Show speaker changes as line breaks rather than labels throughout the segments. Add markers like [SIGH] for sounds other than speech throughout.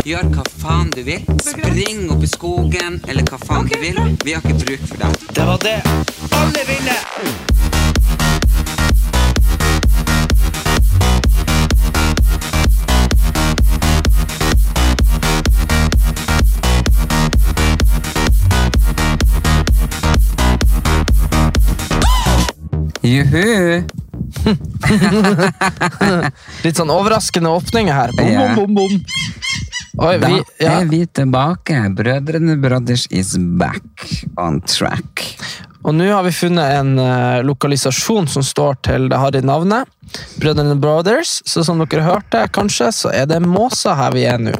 Gjør hva faen du vil. Spring opp i skogen, eller hva faen du vil. Vi har ikke bruk for deg. Det var det alle ville! Juhu!
Litt sånn overraskende åpninger her. Bom,
Ja.
bom, bom, bom. Oi,
Da
vi, ja.
er vi tilbake. Brødrene Brothers is back on track.
Og nå har vi funnet en eh, lokalisasjon som står til det harry navnet. Brødrene Brothers. Så som dere hørte, kanskje, så er det Måsa her vi er nå.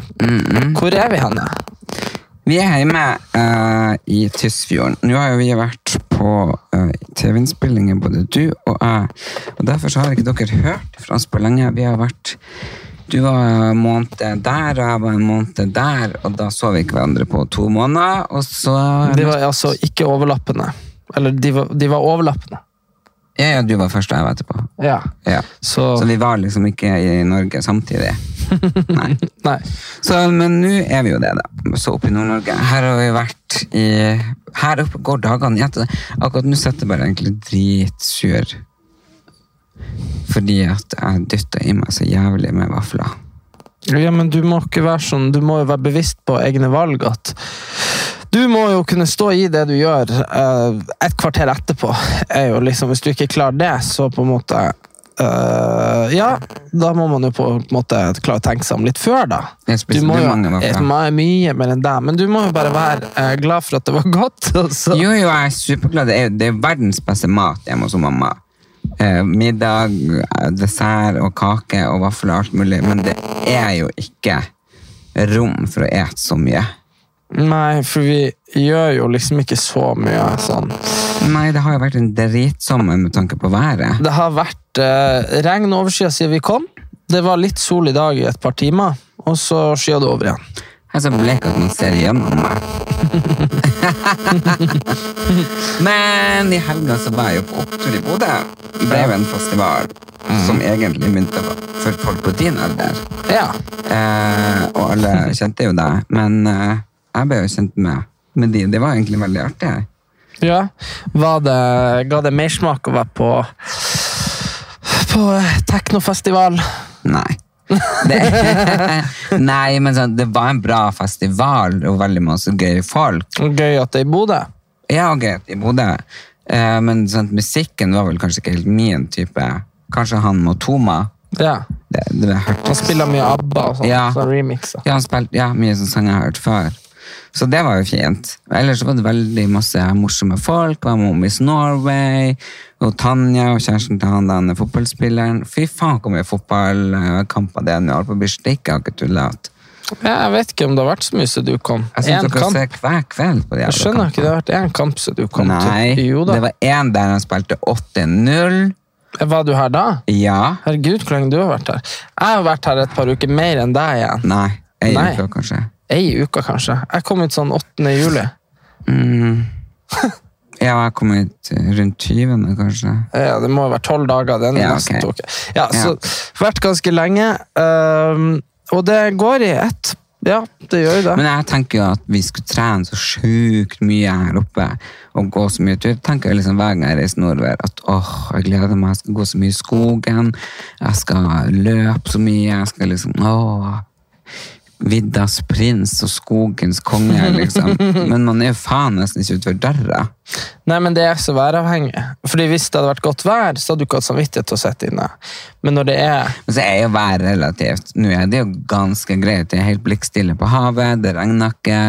Hvor er vi henne?
Vi er hjemme eh, i Tysfjorden. Nå har jo vi vært på eh, TV-innspillinger, både du og jeg. Og derfor så har ikke dere hørt fra oss på lenge. Vi har vært Du var en måned der, og jeg var en måned der, og da så vi ikke hverandre på to måneder, og så
De var altså ikke overlappende. Eller, de var, de var overlappende.
Ja, ja, du var først, og jeg var etterpå.
Ja.
Ja.
Så,
Så vi var liksom ikke i Norge samtidig. Nei.
Nei.
Så, men nå er vi jo det, da. Så oppe i Nord-Norge. Her har vi vært i Her oppe går dagene i ett. Akkurat nå sitter jeg bare egentlig dritsur. Fordi at jeg dytta i meg så jævlig med vafler.
Ja, men du må ikke være sånn. Du må jo være bevisst på egne valg. at du må jo kunne stå i det du gjør eh, et kvarter etterpå. Er jo liksom, hvis du ikke klarer det, så på en måte eh, Ja, da må man jo på en måte klare å tenke seg om litt før, da.
Jeg spiste
må
du
jo,
mange vafler?
Jeg må- mye mer enn deg, men du må jo bare være eh, glad for at det var godt. [LAUGHS] altså. og så-
Jo, jo, jeg er superglad. Det er, det er verdens beste mat hjemme hos mamma. Eh, middag, eh, dessert og kake og vafler og alt mulig. Men det er jo ikke rom for å ete så mye.
Nei, for vi gjør jo liksom ikke så mye sånn.
Nei, det har jo vært en dritsommer med tanke på været.
Det har vært eh, regn og overskyet siden vi kom. Det var litt sol i dag i et par timer, og så skyet det over igjen.
Jeg er så blek at man ser gjennom meg. Men i helga så var jeg jo på opptur i Bodø. Det er jo en festival som egentlig mynta for folk på din alder.
Ja.
Eh, og alle kjente jo deg, men eh, jeg ble jo kjent med, med de. Det var egentlig veldig artig.
ja. Var det, ga det mersmak å være på på eh, teknofestival?
Nei. Det, nei, men sånn, det [LAUGHS] var en bra festival og veldig masse gøye folk.
Gøy at det er i Bodø.
Ja, ok, i Bodø. Eh, men sånn, musikken var vel kanskje ikke helt min type. Kanskje han Motoma.
Ja.
Det, det har jeg hørt.
Han spiller mye ABBA og sånn.
Ja.
sånn remixer.
Ja, han spilte ja, mye sånn sang jeg har hørt før. Så det var jo fint. Ellers så var det veldig masse morsomme folk. Det var med Miss Norway og Tanja og kjæresten til han den fotballspilleren. Fy faen, hvor mye fotballkamp av det nå. Alt på Birstik har ikke tullet.
Ja, jeg vet ikke om det har vært så mye siden du kom.
Jeg
En
syns dere
kamp.
ser hver kveld på de
Jeg
jævla
skjønner
kampene.
ikke, det har vært én kamp siden du kom.
Nei,
til. Jo da.
det var én der han spilte 8-0.
Var du her da?
Ja.
Herregud, hvor lenge du har vært her. Jeg har vært her et par uker mer enn deg igjen.
Nei, ei
Nei.
uke kanskje.
Ei uke, kanskje. Jeg kom ut sånn 8. juli.
Mm. Ja, jeg kom ut rundt 20. kanskje.
Ja, det må jo være tolv dager. Den
Ja,
nesten
ok.
tok jeg. Ja, så vært ganske lenge. ehm, og det går i ett. Ja, det gjør jo det.
Men jeg tenker jo at vi skulle trene så sjukt mye her oppe og gå så mye tur. Jeg tenker liksom hver gang jeg reiser nordover at åh, jeg gleder meg, jeg skal gå så mye i skogen, jeg skal løpe så mye, jeg skal liksom åh, viddas prins og skogens konge, liksom. Men man er jo faen nesten ikke utenfor døra.
Nei, men det er så væravhengig. Fordi hvis det hadde vært godt vær, så hadde du ikke hatt samvittighet til å sitte inne. Men når det er
Men så er jo været relativt. Nå er det jo ganske greit. Det er helt blikkstille på havet, det regner ikke,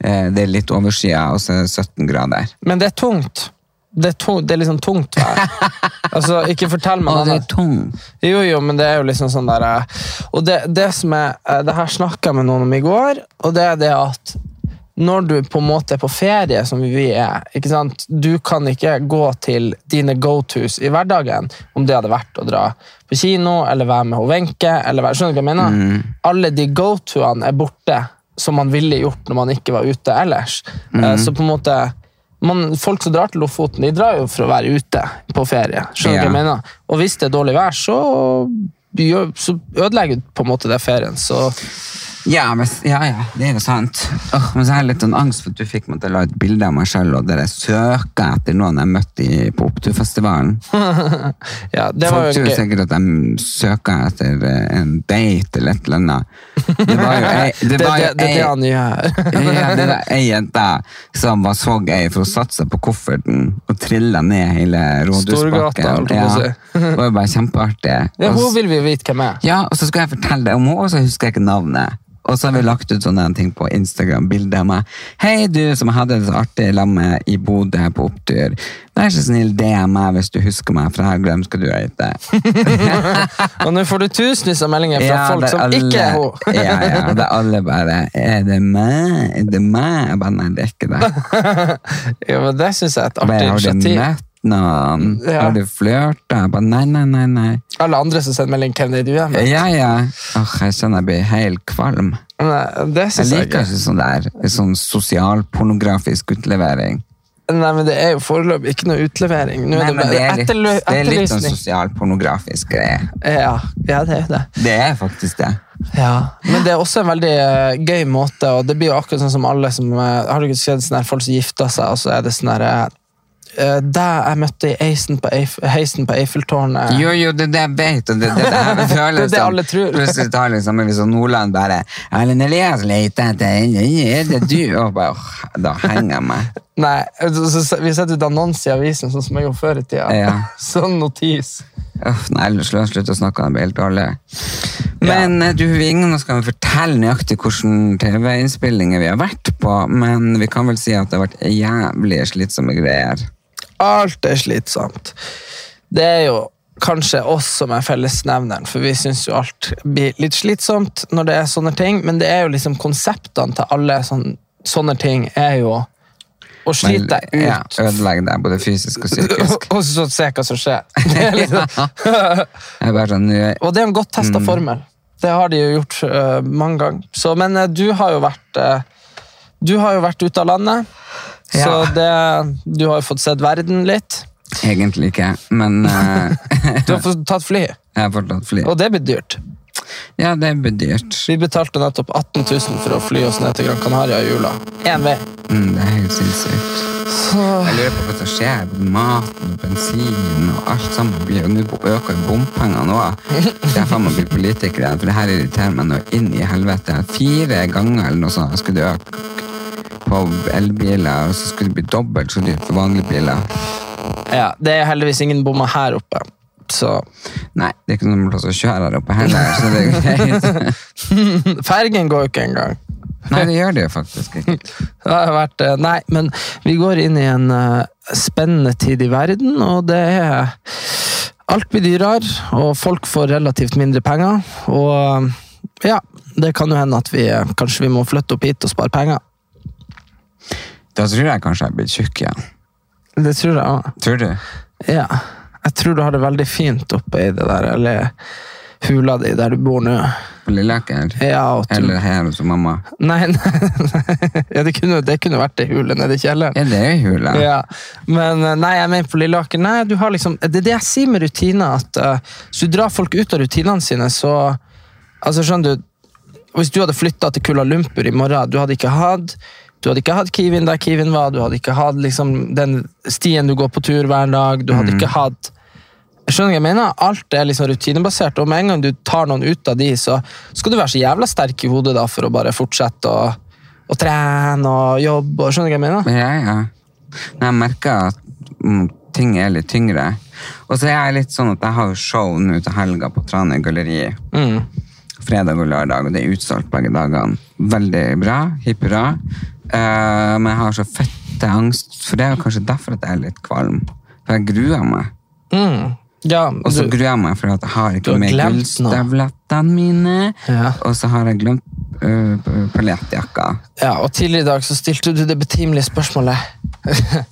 eh, det er litt overskya, og så er det 17 grader.
Men det er tungt. Det er, tung, det er liksom tungt vær.
[LAUGHS]
altså, ikke fortell meg
Å, det
noe.
er tung.
Jo, jo, men det er jo liksom sånn der eh, Og det, det som er eh, Det her snakka jeg med noen om i går, og det er det at når du på en måte er på ferie, som vi er ikke sant? Du kan ikke gå til dine go-tos i hverdagen om det hadde vært å dra på kino eller være med hun Wenche. eller være- Skjønner du hva jeg mener? Alle de go-toene er borte, som man ville gjort når man ikke var ute ellers. Eh, Så på en måte man, Folk som drar til Lofoten, de drar jo for å være ute på ferie. Skjønner du hva jeg
Ja.
mener? mener. Og hvis det er dårlig vær, så, gjør- så ødelegger du på en måte det ferien. Så
Ja, men, ja, ja, det er jo sant. Åh, men så har jeg litt sånn angst for at du fikk meg til å la et bilde av meg sjøl, og dere søker etter noen jeg møtte i, på Oppturfestivalen.
ja, [LAUGHS] det var
Folk
jo
tror
gøy.
sikkert at de søker etter eh, en date eller et eller annet. Det var
[LAUGHS]
jo ei,
Det,
det
det,
var jo
det, det er det
ei-
han gjør.
ja, det var ei jente som var så gøy for hun satte seg på kofferten og trilla ned hele
Storgata,
Rådhusbakken.
holdt jeg på å
det var jo bare kjempeartig.
[LAUGHS] [LAUGHS] Ja,
Og
hun
s-
vil vi jo vite hvem er.
ja, og så skulle jeg fortelle det om henne, og så husker jeg ikke navnet. Og så har vi lagt ut sånne ting på Instagram, bilder av meg. Hei du som hadde det så artig i lammet i Bodø på opptur. Vær så snill, DM meg hvis du husker meg, for jeg har glemt hva du heter.
[LAUGHS] Og nå får du tusenvis av meldinger fra
Ja,
folk
det
som
alle-
ikke er hun.
ja, ja, det er alle bare, er det meg? Er det meg? Jeg bare, nei, det er ikke det.
[LAUGHS] Ja, men det syns jeg er et artig
Bare, har du
initiativ.
møtt noen?
Ja.
Har du flørtet? Jeg bare, nei, nei, nei, nei.
Alle andre som sender melding hvem det er du er med.
Ja, ja. Åh, jeg kjenner jeg blir helt kvalm.
Nei, Det
Jeg
synes jeg
liker
ikke.
ikke sånn der sånn sosialpornografisk utlevering.
Nei, men det er jo foreløpig ikke noe utlevering. Nå
Nei,
er det
men det
bare
er litt,
etterlø-
det er litt sånn
etterlysning.
sosialpornografisk greie.
Ja, ja, det er det.
Det er faktisk det.
Ja, men det er også en veldig eh, gøy måte, og det blir jo akkurat sånn som alle som eh, Har du ikke sett sånne her folk som gifter seg, og så er det sånn herre Deg jeg møtte i heisen på, Eif heisen på Eiffeltårnet.
Jo, jo, det er det jeg vet, og det er det, det,
[LAUGHS]
her vi føler
Det er det
som-
alle tror.
Plutselig tar liksom, hvis Nordland bare Erlend Elias leter etter en, er det du? Og bare, åh, da henger jeg meg.
Nei, altså, så, så, så, vi setter ut annonse i avisen, sånn som jeg gjorde før i tida.
Ja.
[LAUGHS] Sånn notis.
Uff, nei, ellers la oss slutte å snakke, det blir helt dårlig. Men eh, du, ingen av oss kan fortelle nøyaktig hvordan TV-innspillinger vi har vært på, men vi kan vel si at det har vært jævlig slitsomme greier.
Alt er slitsomt. Det er jo kanskje oss som er fellesnevneren, for vi syns jo alt blir litt slitsomt når det er sånne ting, men det er jo liksom konseptene til alle sånn, sånne ting er jo å
Men-
slite deg ut.
Ja, ødelegge deg både fysisk og psykisk.
[LAUGHS] Og så se hva som skjer. [LAUGHS] Det er liksom.
Jeg er bare sånn, nå-
Og det er en godt testa
Mm.
formel. Det har de jo gjort eh, mange ganger. Så, men eh, du har jo vært eh, Du har jo vært ute av landet, så
Ja.
det, du har jo fått sett verden litt.
egentlig ikke, men eh, [LAUGHS]
Du har fått tatt fly,
jeg har fortsatt fly.
og det blir dyrt.
Ja, det blir dyrt.
Vi betalte nettopp 18 000 for å fly oss ned til Gran Canaria i jula. Én vei.
Mm, det er helt sinnssykt. Jeg lurer på hva som skjer. Både Maten og bensin og alt sammen blir jo Nå bo- øker jo bompengene òg. Derfor må bli politiker igjen, for det her irriterer meg nå inn i helvete. Fire ganger eller noe sånt skulle det øke på elbiler, og så skulle det bli dobbelt så dyrt for vanlige biler.
Ja, det er heldigvis ingen bommer her oppe. Så
Nei, det er ikke noen plass å kjøre her oppe heller, så det er greit.
Fergen går jo ikke engang.
Nei, det gjør det jo faktisk ikke.
Det har vært eh, Nei, men vi går inn i en eh, spennende tid i verden, og det er Alt blir dyrere, og folk får relativt mindre penger. Og eh, ja, det kan jo hende at vi eh, kanskje vi må flytte opp hit og spare penger.
Da tror jeg kanskje jeg blir tjukk igjen.
Det tror jeg òg.
Tror du?
Ja. Jeg tror du har det veldig fint oppe i det der, eller hula di der du bor nå.
På Lilleaker?
Ja, og du,
Eller her hos mamma?
[LAUGHS] nei, nei, nei. Ja, det kunne det kunne vært ei hule nede i kjelleren.
Ja, det er jo hula.
Ja. Men eh, nei, jeg mener på Lilleaker Nei, du har liksom Det er det jeg sier med rutiner, at eh, hvis du drar folk ut av rutinene sine, så Altså, skjønner du Hvis du hadde flytta til Kuala Lumpur i morgen, du hadde ikke hatt du hadde ikke hatt Kiwin der Kiwin var, du hadde ikke hatt liksom, den stien du går på tur hver dag. du hadde ikke hatt Skjønner du hva jeg mener? Alt er liksom rutinebasert, og med en gang du tar noen ut av de, så skal du være så jævla sterk i hodet da, for å bare fortsette å, å trene og jobbe. og Skjønner du hva jeg mener?
Ja, ja. Men jeg merker at mm, ting er litt tyngre. Og så er jeg litt sånn at jeg har jo show nå til helga på Trane galleri.
Mm.
Fredag og lørdag, og det er utsolgt begge dagene. Veldig bra. Hipp hurra. Eh, men jeg har så fette at jeg har angst, for det er jo kanskje derfor at jeg er litt kvalm. For jeg gruer meg.
Mm. Ja,
Og så
du,
gruer jeg meg fordi at jeg har
Du
ikke
har
med
glemt noe.
gullstøvlettene mine.
Ja.
Og så har jeg glemt øh, p- paljettjakka.
ja, og tidligere i dag så stilte du det betimelige spørsmålet [LAUGHS]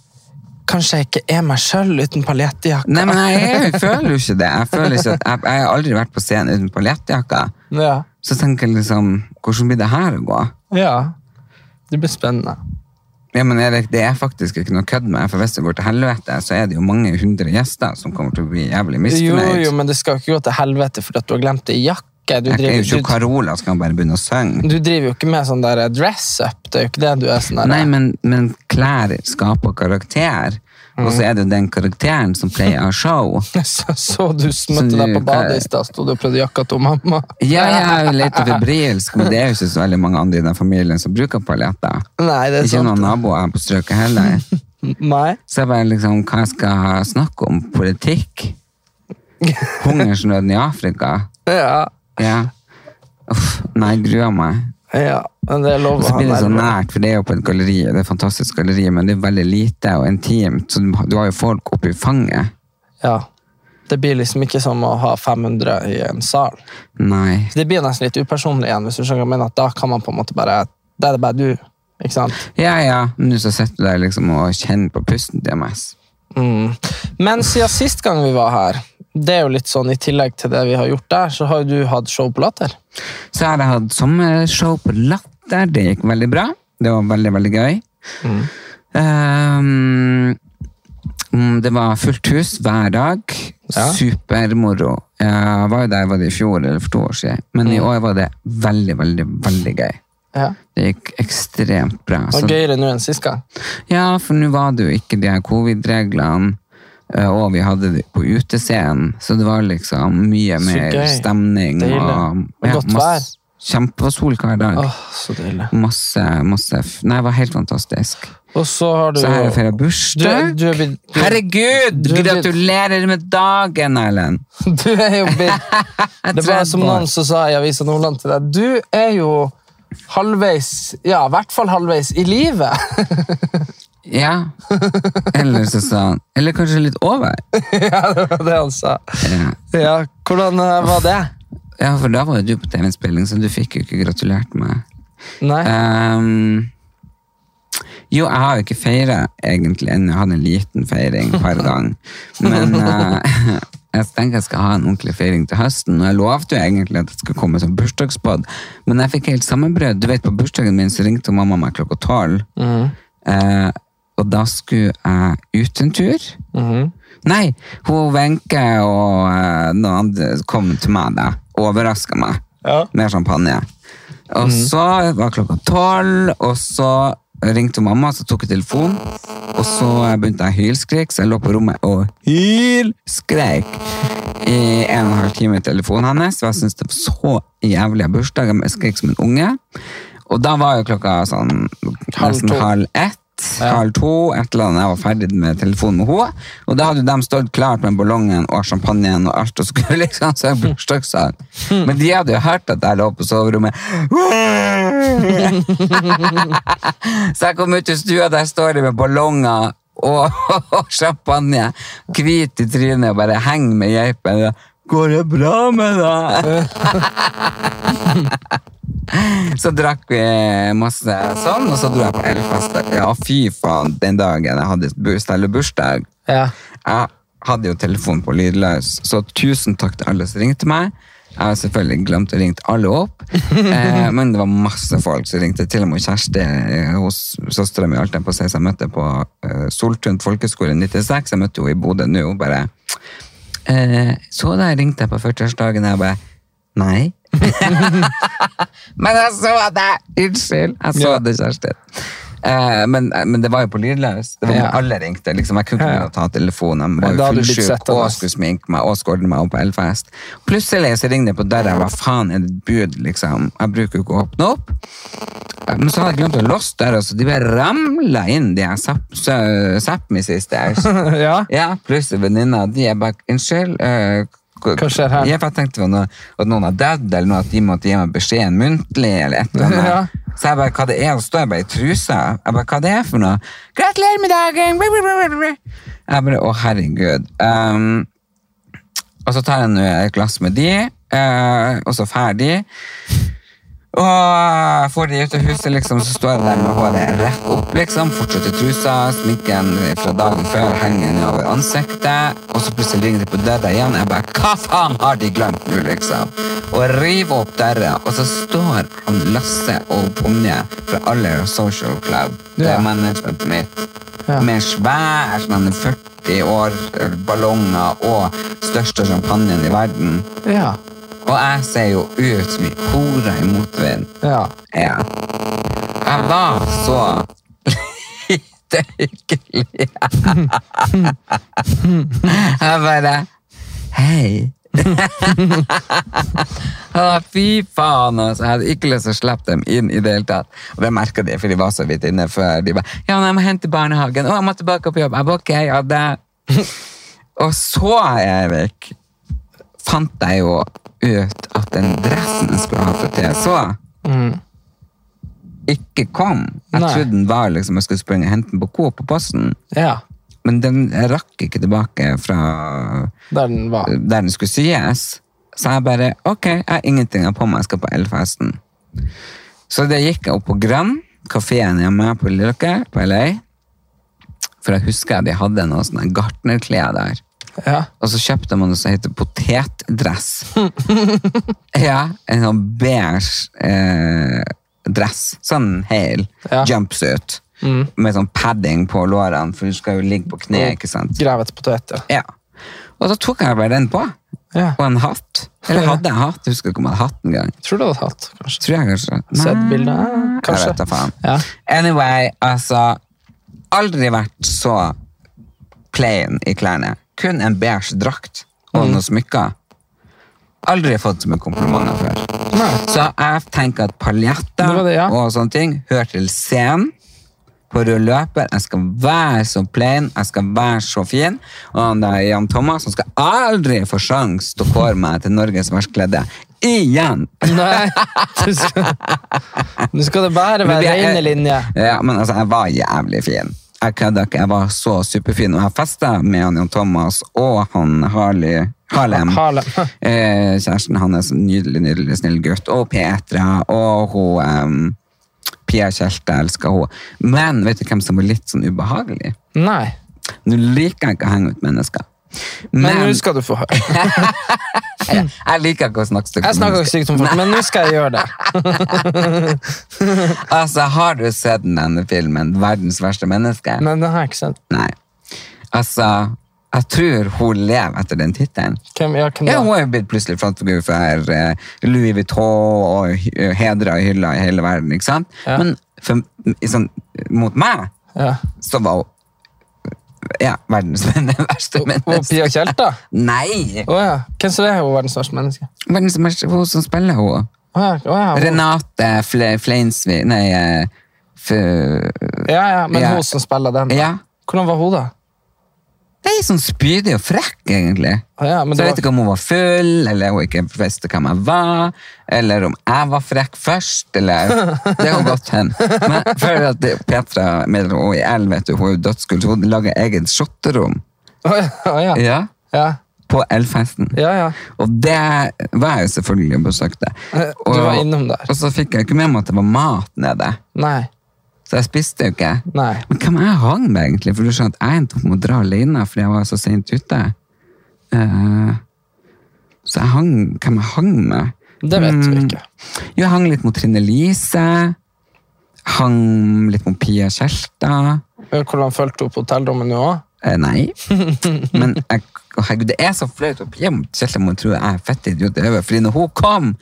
Kanskje jeg ikke er meg sjøl uten paljettjakke?
Nei, men jeg, er jo- føler jo ikke det. Jeg, føler ikke at jeg, jeg har aldri vært på scenen uten paljettjakka.
[LAUGHS] Ja.
Så tenker jeg liksom, hvordan blir det her å gå?
ja. Det blir spennende.
Ja, men Erik, det er faktisk ikke noe kødd med, for hvis det går til helvete, så er det jo mange hundre gjester som kommer til å bli jævlig
Jo,
misfornøyd.
jo, men det skal jo ikke gå til helvete fordi at du har glemt det i jakke. Du
jeg er
driver,
jo ikke
du,
Carola, skal bare begynne å synge.
du driver jo ikke med sånn der eh, dress up. Det er jo ikke det du er sånn der.
Nei, men, men klær skaper karakter, og
Mhm.
så er det jo den karakteren som pleier å ha show.
[LAUGHS] Så, så du
Så
møtte deg på
du-
badet i stad, sto du og prøvde jakka til mamma? [LAUGHS]
Ja, jeg er jo litt febrilsk, men det er jo ikke så veldig mange andre i den familien som bruker paljetter.
Nei, det er
Ikke
sant.
noen naboer på strøket
[LAUGHS]
heller.
Nei.
Så jeg bare liksom, hva jeg skal snakke om? Politikk? Hungersnøden i Afrika?
Ja,
Ja. Uff, nei, jeg gruer meg.
ja. Men det er lov
Og
å
så
ha
blir sånn det så
nerver.
nært, for det er jo på et galleri, og det er et fantastisk galleri, men det er veldig lite og intimt, så du har- du har jo folk oppi fanget.
Ja. Det blir liksom ikke som å ha 500 i en sal.
Nei.
Det blir nesten litt upersonlig igjen, hvis du skjønner hva jeg mener. At da kan man på en måte bare Da er det bare du. Ikke sant?
Ja, ja, men nå så sitter du der liksom og kjenner på pusten til MS.
Mm. Men siden sist gang vi var her, det er jo litt sånn i tillegg til det vi har gjort der, så har jo du hatt show på Latter.
Så har jeg hatt sommershow på Latter, det gikk veldig bra. Det var veldig, veldig gøy. Ehm, mm, det var fullt hus hver dag.
Ja.
Supermoro. Jeg var jo der var det i fjor eller for to år siden, men i år var det veldig, veldig, veldig gøy.
Ja.
Det gikk ekstremt bra.
Det
Så,
var gøyere nå enn sist gang.
ja, for nå var det jo ikke de her covid-reglene, eh, og vi hadde det på utescenen, så det var liksom mye
Så
mer
gøy.
stemning.
Deilig. Og godt
masse- Kjempe det var sol hver dag.
Åh, så deilig.
Masse, masse f- Nei, det var helt fantastisk.
Og så har du
Så her er feira
du, er-
bursdag.
du, er blitt- du,
Herregud!
Du er blitt-
Gratulerer med dagen, Erlend!
[LAUGHS] du er jo blitt Det var som noen som sa i Avisa Nordland til deg. Du er jo halvveis Ja, i hvert fall halvveis i livet.
Ja. Eller så sa han Eller kanskje litt over.
ja, det var det han sa.
Ja.
Ja, hvordan eh, var det?
Ja, for da var jo du på TV-innspilling, så du fikk jo ikke gratulert meg.
Nei?
Ehm, jo, jeg har jo ikke feira egentlig ennå. Jeg hadde en liten feiring hver gang. Men eh, jeg tenker jeg skal ha en ordentlig feiring til høsten. Og jeg lovte jo egentlig at det skulle komme som bursdagspod, men jeg fikk helt sammenbrød. Du vet, på bursdagen min så ringte mamma meg klokka tolv. Eh, og da skulle jeg ut en tur. Nei, hun Wenche og eh, noen andre kom til meg da. Overraska meg
Ja.
med champagne. Og så var klokka tolv, og så ringte mamma, så tok jeg telefonen. Og så begynte jeg å hylskrek, så jeg lå på rommet og hylskrek i en og en halv time i telefonen hennes. Og jeg syntes det var så jævlig av bursdag. Jeg skrek som en unge. Og da var jo klokka sånn nesten
to.
halv ett. Halv to, et eller annet, jeg var ferdig med telefonen med henne. Og da hadde de stått klart med ballongen og champagnen og alt, og skulle liksom se bursdagssang. Men de hadde jo hørt at jeg lå på soverommet. Så jeg kom ut i stua, der står de med ballonger og, [LAUGHS] og champagne. Hvit i trynet og bare henger med geipen. Går det bra med deg? [LAUGHS] så drakk vi masse sånn, og så dro jeg på elfest. Ja, fy faen, den dagen jeg hadde bu- stelle bursdag.
Ja.
Jeg hadde jo telefonen på lydløs, så tusen takk til alle som ringte meg. Jeg har selvfølgelig glemt å ringe alle opp, eh, men det var masse folk som ringte. Til og med Kjersti eh, hos søstera mi holdt jeg på å si, som jeg møtte på eh, Soltun folkeskole 96. Jeg møtte henne i Bodø nå. Hun bare eh, Så da jeg ringte deg på 40-årsdagen, og jeg bare Nei. [LAUGHS] men jeg så deg! Unnskyld. Jeg så
Ja.
det, Kjersti. Eh, men, men det var jo på lydløs. Det var
Ja.
Alle ringte. liksom Jeg kunne ikke begynne å ta telefonen. Jeg var
Ja, da
jo
hadde du blitt
fullsjuk
sett av
og
oss.
skulle sminke meg og skåle meg opp på Elfest. Plutselig så ringer det på døra. Hva faen er det et bud, liksom? Jeg bruker jo ikke å åpne opp. Men så hadde jeg glemt å låse døra, så de bare ramla inn, de her Zapp- Sø- Sápmi Sisters.
[LAUGHS] ja.
Ja, pluss venninna. De er bare Unnskyld. eh, k-
Hva skjer her?
Ja, for Jeg tenkte det var noe, at noen har dødd, eller noe, at de måtte gi meg beskjeden muntlig. eller et eller annet.
[LAUGHS] Ja.
Så jeg bare, hva det er, og står jeg bare i trusa. Jeg bare, hva det er for noe? Gratulerer med dagen! Jeg bare, å herregud. Um, og så tar jeg nå et glass med de, eh, og så ferdig. Og får de ut av huset, liksom, så står jeg der med håret rett opp, liksom. Fortsatt i trusa, sminken fra dagen før henger ned over ansiktet. Og så plutselig ringer de på døra igjen. Jeg bare Hva faen har de glemt nå, liksom? Og river opp døra, og så står han Lasse og Ponje fra Aller Social Club, det
Ja.
er managementet mitt,
Ja.
med svær sånn 40 år, eh, ballonger og største champagnen i verden.
Ja.
Og jeg ser jo ut som en hore i motvind.
ja.
Ja. Jeg var så lite hyggelig. Jeg bare Hei. Ja, Fy faen, altså. Jeg hadde ikke lyst til å slippe dem inn i det hele tatt. Og det merka de, for de var så vidt inne før. De bare Ja, men jeg må hente barnehagen. Å, jeg må tilbake på jobb. Jeg bare, ok, ja, det. Og så, Erik, fant jeg jo ut at den dressen jeg skulle ha på TSH,
Mm.
ikke kom. Jeg
Nei.
trodde den var liksom jeg skulle springe og hente den på Coop på posten,
ja.
men den jeg rakk ikke tilbake fra
Der den var.
der den skulle syes. Så jeg bare Ok, jeg har ingenting jeg har på meg, jeg skal på Elfesten. Så det gikk jeg opp på Grand, kafeen hjemme på Lilleøker på LA. For jeg husker de hadde noen sånne gartnerklær der.
Ja.
Og så kjøpte man noe som heter
[LAUGHS]
potetdress. ja, en sånn beige eh, dress. Sånn hel
Ja. Mm.
jumpsuit. Med sånn padding på lårene, for du skal jo ligge på kne, ikke sant?
Grevet potet, ja.
Ja. Og så tok jeg bare den på.
Ja.
Og en hatt. Eller hadde jeg hatt? Jeg husker ikke om jeg hadde hatt en gang.
Tror du det hadde hatt, kanskje.
Tror jeg kanskje.
Sett
Nei,
bildet. eh, Kanskje.
Jeg vet da faen.
Ja.
Anyway, altså Aldri vært så plain i klærne. Kun en beige drakt og
Mm.
noen smykker. Aldri fått så mye komplimenter før. Så jeg tenker at
Det
paljetter
var det, ja.
og sånne ting hører til scenen. På rød løper. Jeg skal være så plain, jeg skal være så fin. Og han der Jan Thomas han skal aldri få sjans til å kåre meg til Norges verst kledde. Igjen!
Nei, [LAUGHS] du skal, du skal det bare være
Men det er-
rene linjer.
Ja, men altså, jeg var jævlig fin. Jeg kødda ikke, jeg var så superfin. Og jeg festa med han Jan Thomas og han Harley Harlem.
Harlem.
[LAUGHS] Eh, kjæresten hans, nydelig, nydelig snill gutt. Og Petra og hun em, Pia Tjelte, jeg elsker hun. Men vet du hvem som var litt sånn ubehagelig?
Nei.
Nå liker jeg ikke å henge ut mennesker.
Men
Men
nå skal du få høre.
jeg, jeg liker ikke å snakke stygt
Jeg
om
snakker
mennesker.
ikke stygt om folk, men nå skal jeg gjøre det.
Altså, har du sett denne filmen, 'Verdens verste menneske'?
Men det har jeg ikke sett.
Nei. Altså, jeg tror hun lever etter den tittelen.
Hvem, ja, hvem
Ja,
da?
hun er jo blitt plutselig frontfigur for eh, Louis Vuitton og hy- hedra og hylla i hele verden, ikke sant?
Ja.
Men for, i sånn, mot meg,
Ja.
så var hun eh, ja, verdens [LAUGHS] verste
Og
menneske.
Pia Kjelta?
Nei!
Å ja. Hvem så det er hun verdens verste menneske?
Verdens verste, hun som spiller hun.
Å ja, å ja, hun-
Renate Fle, Fleinsvi... Nei, eh, F-
ja, ja, men
Ja.
hun som spiller den.
ja.
Hvordan var hun, da?
Det er sånn spydig og frekk, egentlig.
Å ja, men det
så jeg
var-
vet ikke om hun var full, eller hun ikke visste hvem jeg var, eller om jeg var frekk først,
[LAUGHS]
eller Det kan godt hende. Men for at det- Petra mellom hun i L, vet du, hun er jo dødsgull, så hun lager eget shotterom
Å ja, å ja.
ja,
Ja,
på L-festen.
ja. ja.
Og det var jeg jo selvfølgelig og besøkte.
Eh, Du var innom der.
Og så fikk jeg ikke med meg at det var mat nede,
Nei.
så jeg spiste jo ikke.
Nei.
Men hvem jeg hang med, egentlig? For du skjønner at jeg endte opp med å dra alene fordi jeg var så sent ute. Eh, så jeg hang Hvem jeg hang med?
Det vet vi
Mm,
ikke.
Jo, jeg hang litt mot Trine Lise. Hang litt mot Pia Tjelta.
Men Hvordan følte hun på hotellrommet nå òg?
Eh, nei. Men jeg, å, herregud, det er så flaut. og Pia mot Tjelta må tro jeg er fett idiot i hodet. Fordi når hun kom,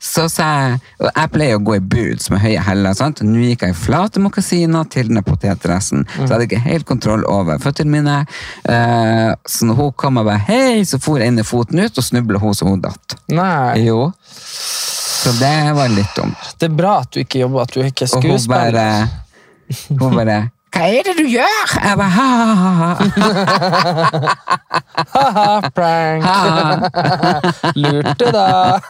så sa jeg Og jeg pleier å gå i boots med høye hæler. sant? Nå gikk jeg i flate mokasiner til den der potetdressen. Så jeg hadde ikke helt kontroll over føttene mine. Eh, så når hun kom og bare hei, så for jeg inn i foten ut, og snubla hun så hun datt.
Nei.
Jo. Så det var litt dumt.
Det er bra at du ikke jobber, at du ikke er
Og hun
skuespiller.
bare Hun bare Hva hva er det du gjør? Jeg bare, ha, ha, ha, ha,
Haha, prank!
ha, ha.
Lurte, da!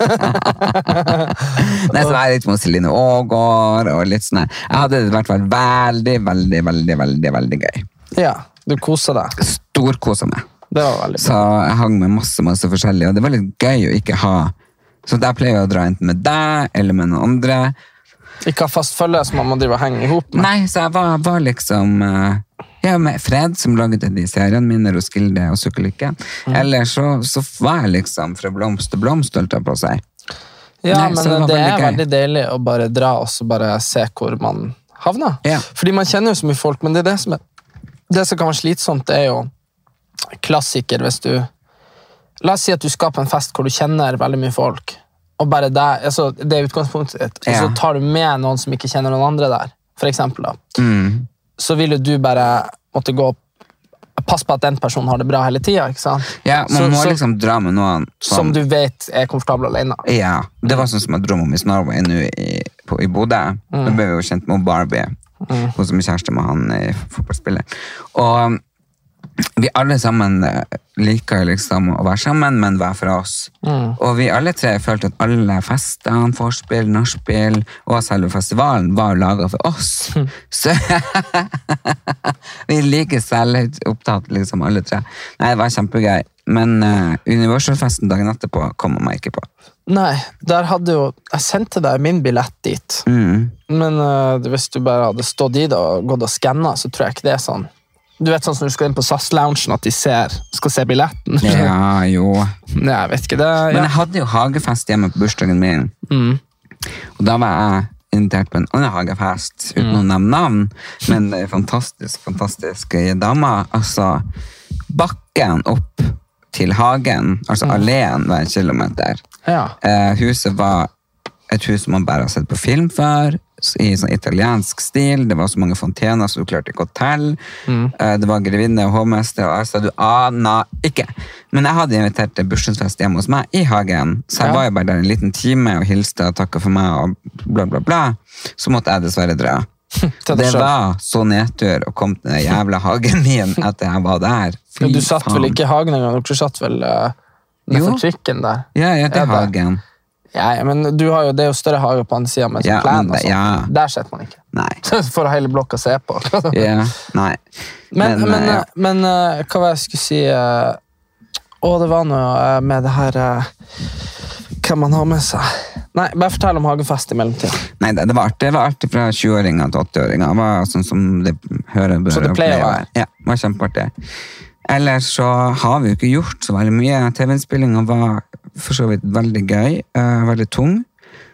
Nei, så var jeg sånn litt mot Celine Aagaard og litt sånn her. Jeg hadde det i hvert fall veldig, veldig, veldig, veldig, veldig gøy.
Ja, du koser deg.
Storkosa meg.
Det var veldig bra.
Så jeg hang med masse, masse forskjellig, og det var litt gøy å ikke ha Så der pleier jeg å dra enten med deg eller med noen andre.
Ikke ha fast følge som man må drive og henge i hop med.
Nei, så jeg var, var liksom eh, Ja, med Fred, som lagde de seriene mine, Roskilde og Sukkelykke. Eller så, så var jeg liksom fra blomst til blomst, holdt jeg på å si.
Ja,
Nei, så det
men
var
det
veldig
er
gøy.
veldig deilig å bare dra og så bare se hvor man havner.
Ja.
Fordi man kjenner jo så mye folk, men det, er det, som er, det som kan være slitsomt, det er jo klassiker hvis du La oss si at du skal på en fest hvor du kjenner veldig mye folk, og bare der, altså, det er utgangspunktet ditt, og så
Ja.
tar du med noen som ikke kjenner noen andre der, for eksempel, da.
Mm.
så vil jo du bare måtte gå Pass på at den personen har det bra hele tida.
Ja, Man må liksom dra med noen
som du vet er komfortabel alene.
Ja, det var sånn som jeg drømte om i Norway nå i, på- i Bodø. Da ble vi jo kjent med Barbie, hun som er kjæreste med han eh, fotballspilleren. Og vi alle sammen eh, liker liksom å være sammen, men hver for oss. Og vi alle tre følte at alle festene, vorspiel, nachspiel og selve festivalen var laga for oss. Så [LAUGHS] vi er like selvopptatt, liksom, alle tre. Nei, det var kjempegøy. Men eh, Universal-festen dagen etterpå kommer meg ikke på.
Nei, der hadde jo Jeg sendte deg min billett dit.
Mm.
Men eh, hvis du bare hadde stått i det og gått og skanna, så tror jeg ikke det er sånn. Du vet sånn som når du skal inn på SAS-loungen, at de ser, skal se billetten?
Ja, jo.
[LAUGHS] Nei, jeg vet ikke det.
Men
Ja.
jeg hadde jo hagefest hjemme på bursdagen min. Og da var jeg invitert på en annen hagefest, uten å nevne navn. Men eh, fantastisk, fantastisk eh, dame. Altså, bakken opp til hagen, altså alleen, var en kilometer.
Ja.
Eh, huset var et hus som man bare har sett på film før, s- i sånn italiensk stil. Det var så mange fontener, så du klarte ikke å telle.
Mm.
Eh, det var grevinne og hovmester, og jeg sa du ana ikke. Men jeg hadde invitert til bursdagsfest hjemme hos meg i hagen, så jeg
Ja.
var jo bare der en liten time og hilste og takka for meg og bla, bla, bla. Så måtte jeg
[LAUGHS]
dessverre dra.
deg
Det
selv.
var så nedtur å komme til den jævla hagen min etter jeg var der. Fy
Men du satt vel ikke i hagen engang? Dere satt vel uh,
Jo.
nedfor trikken der?
Ja, ja, til
Ja, der.
hagen.
Ja, ja, men du har jo, det er jo større hage på andre sida med sånn
Ja,
plen.
men
og
det-
sånt.
ja.
Der sitter man ikke. [LAUGHS]
Nei.
For hele blokka se på. [LAUGHS]
Ja, nei.
Men, men,
eh, ja.
men, eh, hva var det jeg skulle si eh, Å, det var noe eh, med det her eh, Hva man har med seg Nei, bare fortell om hagefest i mellomtida.
Nei, det, det var artig. Det var artig fra 20-åringer til 80-åringer. Det var sånn som det hører bør
Så det
og
pleier å være.
Ja, det var kjempeartig. Ellers så har vi jo ikke gjort så veldig mye. TV-innspillinga var for så vidt veldig gøy, eh, veldig tung.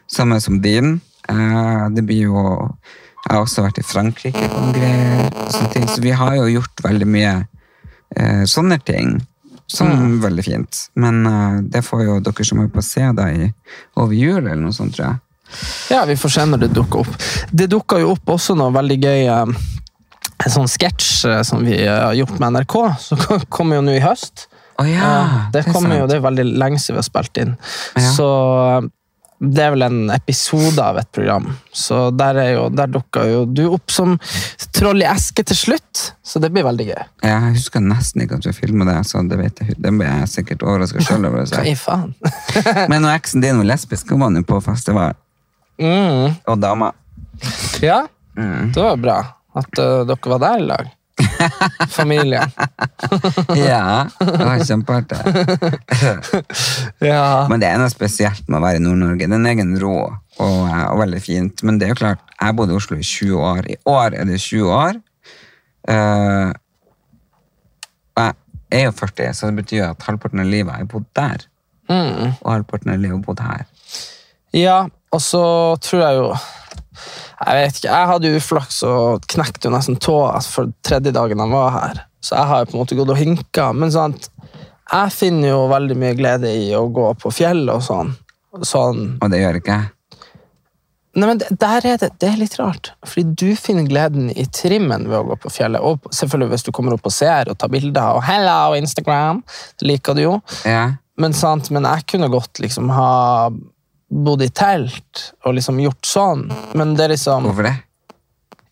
Samme som din. Eh, det blir jo Jeg har også vært i Frankrike på noen greier. og Sånne ting. Så vi har jo gjort veldig mye eh, sånne ting. Som
Mm.
er veldig fint. Men eh, det får jo dere som er på se da i over jul, eller noe sånt, tror jeg.
Ja, vi får se når det dukker opp. Det dukka jo opp også noe veldig gøy eh, En sånn sketsj eh, som vi eh, har gjort med NRK, som [LAUGHS] kommer jo nå i høst.
Å ja,
Eh, det
er
kommer jo,
sant.
det er veldig lenge siden vi har spilt inn.
Ja.
Så eh, det er vel en episode av et program. Så der, er jo, der dukker jo du opp som troll i eske til slutt, så det blir veldig gøy.
Jeg husker nesten ikke at vi filmet det, så det vet jeg. Den ble jeg sikkert overraska sjøl over.
[LAUGHS]
Så.
Hva i
[LAUGHS]
faen?
Men når eksen din var lesbisk, hun var nå på festival,
Mm.
og dama Mm.
Ja, [LAUGHS] det var bra at eh, dere var der i
[LAUGHS]
lag. Familien.
Ja, det var kjempeartig.
Ja.
Men det er noe spesielt med å være i Nord-Norge. Det er en egen rå og, eh, og veldig fint. Men det er jo klart, jeg bodde i Oslo i 20 år. I år er det 20 år. Eh, og jeg er jo 40, så det betyr jo at halvparten av livet har jeg bodd der.
Mm.
Og halvparten av livet har jeg bodd her.
ja, og så tror jeg jo Jeg vet ikke, jeg hadde jo uflaks og knekte jo nesten tåa for tredje dagen han var her. Så jeg har jo på en måte gått og hinka. Men sant, jeg finner jo veldig mye glede i å gå på fjellet og sånn. sånn.
Og det gjør ikke jeg.
Nei, men det- der er det, det er litt rart. Fordi du finner gleden i trimmen ved å gå på fjellet. Og selvfølgelig hvis du kommer opp og ser og tar bilder og hello Instagram, det liker du jo.
Ja.
Men, sant, men jeg kunne godt liksom ha bodd i telt og liksom gjort sånn. Men det er liksom
Hvorfor det?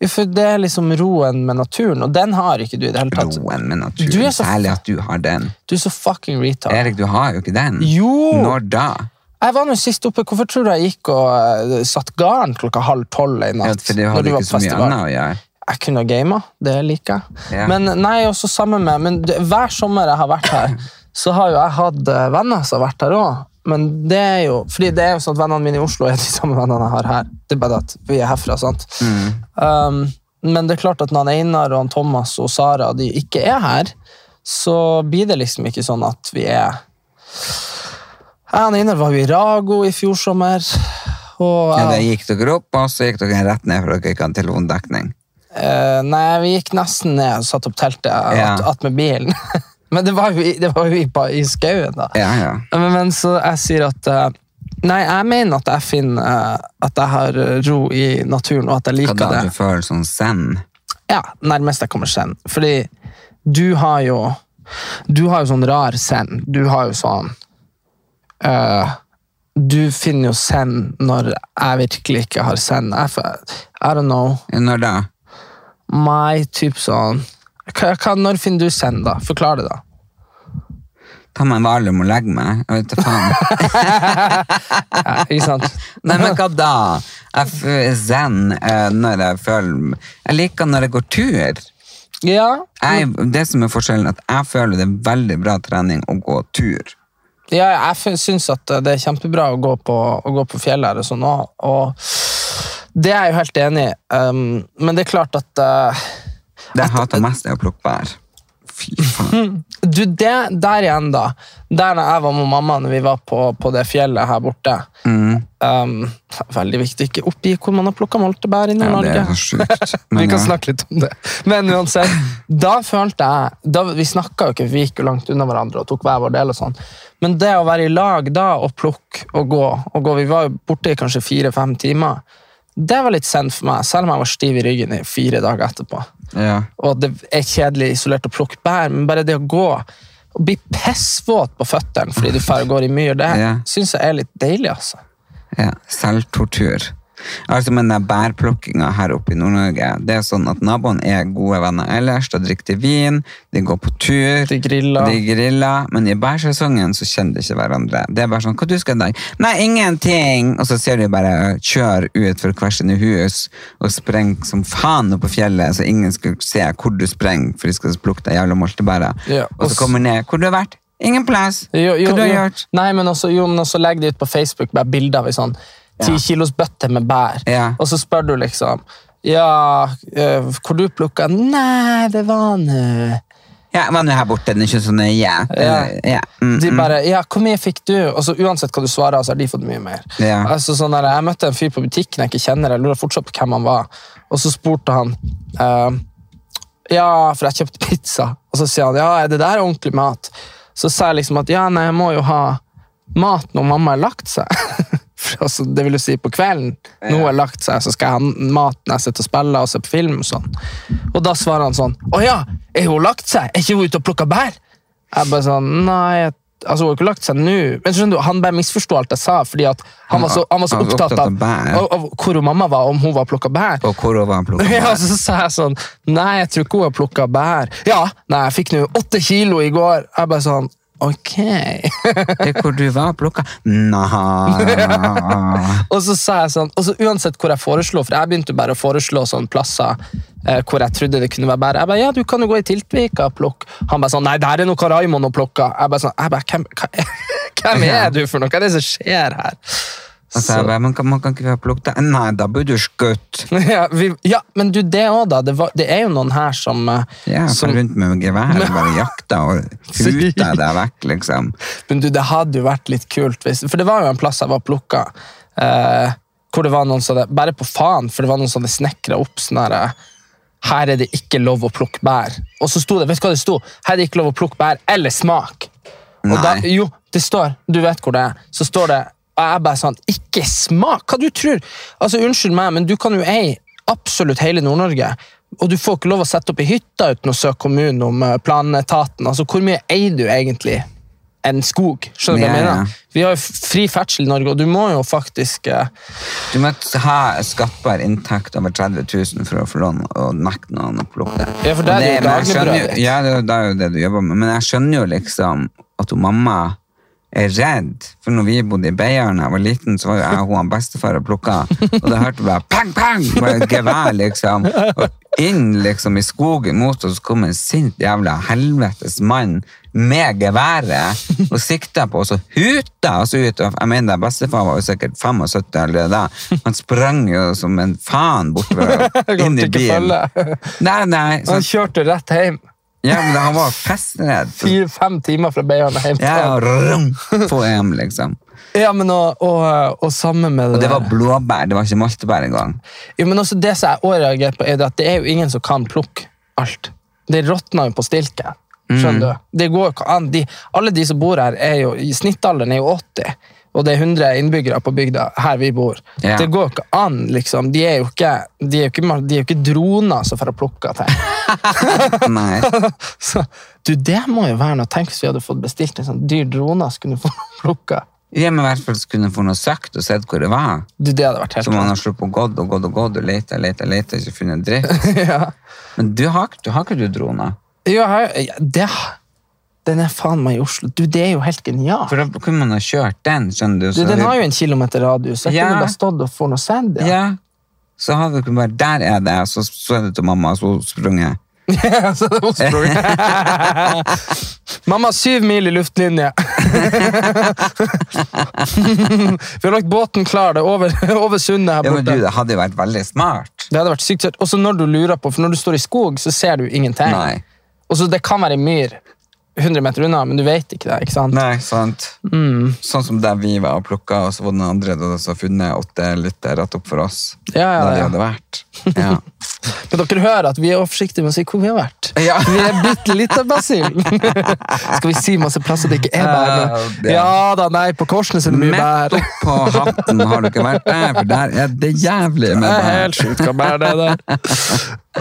Ja, for det er liksom roen med naturen, og den har ikke du i det hele tatt.
Roen med
Du
naturen.
er så-
Særlig at du har den.
Du er så fucking retard.
Erik, du har jo ikke den.
Jo!
Når da?
Jeg var nå sist oppe. Hvorfor tror du jeg gikk og eh, satt garn klokka halv tolv i
Ja,
natt?
for det
når
hadde
du var på
ikke så mye
festival?
annet å gjøre.
Jeg kunne ha gama, det liker jeg.
Ja.
Men nei, også sammen med men det, Hver sommer jeg har vært
[LAUGHS]
her, så har jo jeg hatt eh, venner som har vært her òg. Men det er jo fordi det er jo sånn at vennene mine i Oslo er de samme vennene jeg har her. Det er bare at vi er herfra, sant?
Mm.
Um, men det er klart at når han Einar og han Thomas og Sara de ikke er her, så blir det liksom ikke sånn at vi er Jeg og han Einar var jo i Rago i fjor sommer. Og
Ja,
jeg-
da gikk dere opp, og så gikk dere rett ned for dere ikke hadde telefondekning.
Eh, nei, vi gikk nesten ned og satt opp teltet
Ja.
at, at med bilen. [LAUGHS] men det var jo, i- det var jo i, ba- i skauen, da.
Ja, ja.
Men, men så jeg sier at eh, Nei, jeg mener at jeg finner eh, at jeg har ro i naturen, og at jeg
Hva da
liker det.
du føler sånn zen?
Ja, Nærmest jeg kommer send. Fordi du har jo Du har jo sånn rar send. Du har jo sånn eh, Du finner jo send når jeg virkelig ikke har send. Jeg, f- I don't know.
Når da?
Nei, typ sånn hva, hva, Når finner du send, da? Forklar det, da.
Ta meg en valium og legg meg. Jeg vet
[LAUGHS]
da faen.
Ja, ikke
[LAUGHS]
sant?
Nei, men hva da? Jeg f- zen eh, når jeg føler Jeg liker når jeg går tur.
Ja,
Jeg,
Mm.
det som er forskjellen, er at jeg føler det er veldig bra trening å gå tur.
ja jeg fin- syns at det er kjempebra å gå på, å gå på fjellet her og sånn òg, og det er jeg jo helt enig i. Um, men det er klart at eh,
Det jeg hater mest, er å plukke bær. Fy faen.
Du, det der igjen, da. Der når jeg var med mamma når vi var på, på det fjellet her borte
Mm.
um, Veldig viktig ikke oppgi hvor man har plukka moltebær i
Ja,
Nord-Norge.
[LAUGHS] det er så sjukt.
vi
Men
kan
ja.
snakke litt om det. Men uansett, da følte jeg da, Vi snakka jo ikke, vi gikk jo langt unna hverandre og tok hver vår del. og sånn. Men det å være i lag da og plukke og gå, og gå Vi var jo borte i kanskje fire-fem timer. Det var litt sent for meg, selv om jeg var stiv i ryggen i fire dager etterpå.
Ja.
Og det er kjedelig isolert å plukke bær, men bare det å gå og bli pissvåt på føttene fordi du drar og går i myr, det
Ja.
syns jeg er litt deilig, altså.
Ja, selvtortur. Altså, men den bærplukkinga her oppe i Nord-Norge, det er sånn at naboene er gode venner ellers. Da drikker de vin, de går på tur,
De griller.
de griller men i bærsesongen så kjenner de ikke hverandre. Det er bare sånn 'Hva du skal i dag?' 'Nei, ingenting!' Og så ser de bare kjøre ut for hvert sine hus og sprenge som faen opp på fjellet, så ingen skal se hvor du sprenger, for de skal plukke de jævla moltebæra.
Ja,
Og
og
så
s-
kommer de ned. 'Hvor du har vært?' 'Ingen plass'. 'Hva du har gjort?'
Nei, men også, jo, men også legg det ut på Facebook, bare bilder av ei sånn ti kilos bøtte med bær.
Ja.
Og så spør du liksom Ja, eh, hvor du plukka? Nei, det var nå
Ja, var nå her borte, den er ikke så nøye.
Ja.
Eh, ja. Mm,
De
mm.
bare Ja, hvor mye fikk du? Og så Uansett hva du svarer, så har de fått mye mer.
Ja.
Altså sånn der, Jeg møtte en fyr på butikken jeg ikke kjenner, jeg lurer fortsatt på hvem han var. Og så spurte han eh, Ja, for jeg kjøpte pizza. Og så sier han ja, er det der ordentlig mat? Så sa jeg liksom at ja, nei, jeg må jo ha mat når mamma har lagt seg. [LAUGHS] For altså, det vil jo si på kvelden. Nå har jeg lagt seg, så skal jeg ha mat når jeg sitter og spiller og ser på film. Og sånn. Og da svarer han sånn Å ja, er hun lagt seg? Er ikke hun ute og plukker bær? Jeg bare sånn, nei, jeg, altså hun har ikke lagt seg nå. Men skjønner du, han bare misforstod alt jeg sa, fordi at han var så, han var så
Han var
opptatt
opptatt
av,
av bær.
av, av hvor hun mamma var, om hun var plukket bær.
Og hvor var han
[LAUGHS]
plukket
Ja,
bær?
så sa jeg sånn, nei, jeg tror ikke hun har plukket bær. Ja, nei, jeg fikk nå åtte kilo i går. Jeg bare sånn, ok.
Det er hvor du var plukket? Nei.
og så sa jeg sånn, og så uansett hvor jeg foreslo, for jeg begynte bare å foreslå sånne plasser eh, hvor jeg trodde det kunne være bær. Jeg bare, ja, du kan jo gå i Tiltvika og plukke. Han bare sånn, nei, der er noe Raimond å plukke. Jeg bare sånn, jeg bare, hvem, hva- hvem er [LAUGHS] du for noe? Hva er det som skjer her? [LAUGHS]
Og så jeg bare, man kan, man kan ikke ha plukket det. Nei, da blir du skutt.
Ja, vi, ja men du, det òg, da. Det, var, det er jo noen her som, eh,
Ja, for
som
rundt med gevær og bare jakta og huta deg vekk, liksom.
Men du, det hadde jo vært litt kult hvis For det var jo en plass jeg var plukka, eh, hvor det var noen som hadde Bare på faen, for det var noen som hadde snekra opp sånn her eh, Her er det ikke lov å plukke bær. Og så sto det Vet du hva det sto? Her er det ikke lov å plukke bær eller smak. Og da,
Nei.
jo, det står Du vet hvor det er. Så står det Og jeg bare sånn Ikke smak! Hva du tror? Altså, unnskyld meg, men du kan jo eie absolutt hele Nord-Norge. Og du får ikke lov å sette opp i hytta uten å søke kommunen om eh, planetaten. Altså, Hvor mye eier du egentlig? en skog. Skjønner du hva jeg
Ja, ja.
mener? Vi har jo f- fri ferdsel i Norge, og du må jo faktisk eh,
Du må ha skattbar inntekt over 30 000 for å få lån og nekte noen å plukke det.
Ja, for der er jo
Og men jeg skjønner
dagligbrødet.
jo- Ja, det er jo- det er jo det du jobber med. Men jeg skjønner jo liksom at hun mamma er redd. For når vi bodde i Beiarn da jeg var liten, så var jo jeg og hun han bestefar og plukka. Og da hørte vi bare pang, pang! Bare et gevær, liksom. Og inn liksom i skogen mot oss kom en sint jævla helvetes mann med geværet og sikta på oss og huta oss ut. Og jeg mener, bestefar var jo sikkert 75 eller da. Han sprang jo som en faen bortover
[LAUGHS]
og inn
Klarte
i
ikke
bilen.
følge.
Nei, sånn nei.
[LAUGHS] Han
[LAUGHS] Så,
kjørte rett hjem.
ja, men han var
[LAUGHS]
festredd. Så-
Fire-fem timer fra Beiarn hjem. til-
Ja, og rum, få hjem, liksom.
Ja, men og, og, og sammen med det
Og det var
der-
blåbær, det var ikke maltebær engang.
Jo, men også det som jeg også reagerer på, er det at det er jo ingen som kan plukke alt. Det råtner jo på stilken. Skjønner du? Det går jo ikke an. De, alle de som bor her, er jo, i snittalderen er jo 80. Og det er 100 innbyggere på bygda her vi bor.
Ja.
Det går jo ikke an, liksom. De er jo ikke, de er jo ikke, ma- de er jo ikke droner som får plukke ting.
Nei.
[LAUGHS] Så, du, det må jo være noe. Tenk hvis vi hadde fått bestilt en sånn dyr drone som kunne få [LAUGHS] plukka.
Ja, men i hvert fall så kunne få noe søkt og sett hvor det var.
Du, det hadde vært
Så
helt
man har sluppet gått og gått og gått og leta, leta, leta, ikke funnet drift.
[LAUGHS] ja.
Men du har, du har ikke du droner?
Jo, her, det, den er faen meg i Oslo. Du, det er jo helt genialt.
For da kunne man ha kjørt den, skjønner du.
Du,
så
den
hadde-
har jo en kilometer radius. Jeg
Ja.
kunne bare stått og få noe sand.
Ja. Så hadde du kunnet bare, der er det, så så er det til mamma, og så sprunget.
Så det var [LAUGHS] sprunget. Mamma, syv mil i luftlinje. [LAUGHS] Vi har lagt båten klar. Det er over, [LAUGHS] over sundet her
Ja, men
borte.
du, det hadde jo vært veldig smart.
det hadde vært sykt søtt. Også når du lurer på, for når du står i skog, så ser du ingenting.
Nei.
Og så det kan være en myr 100 meter unna, men du vet ikke det. ikke sant?
Nei, sant.
Mm.
Sånn som der vi var og plukka, og så var det noen andre da som har funnet åtte liter rett opp for oss.
Ja, ja,
Der
ja.
vi hadde vært.
[LAUGHS]
Ja.
Men dere hører at vi er forsiktige med å si hvor vi har vært.
Ja.
Vi er bitte litt av [LAUGHS] Brasil. Skal vi si masse plasser det ikke er bær?
Ja,
men-
det-
Ja da, nei, på Korsnes er det mye
Mett
bær.
oppå hatten har du ikke vært der, for der er det jævlig med
Det er helt
bær.
sjukt hva bær det er.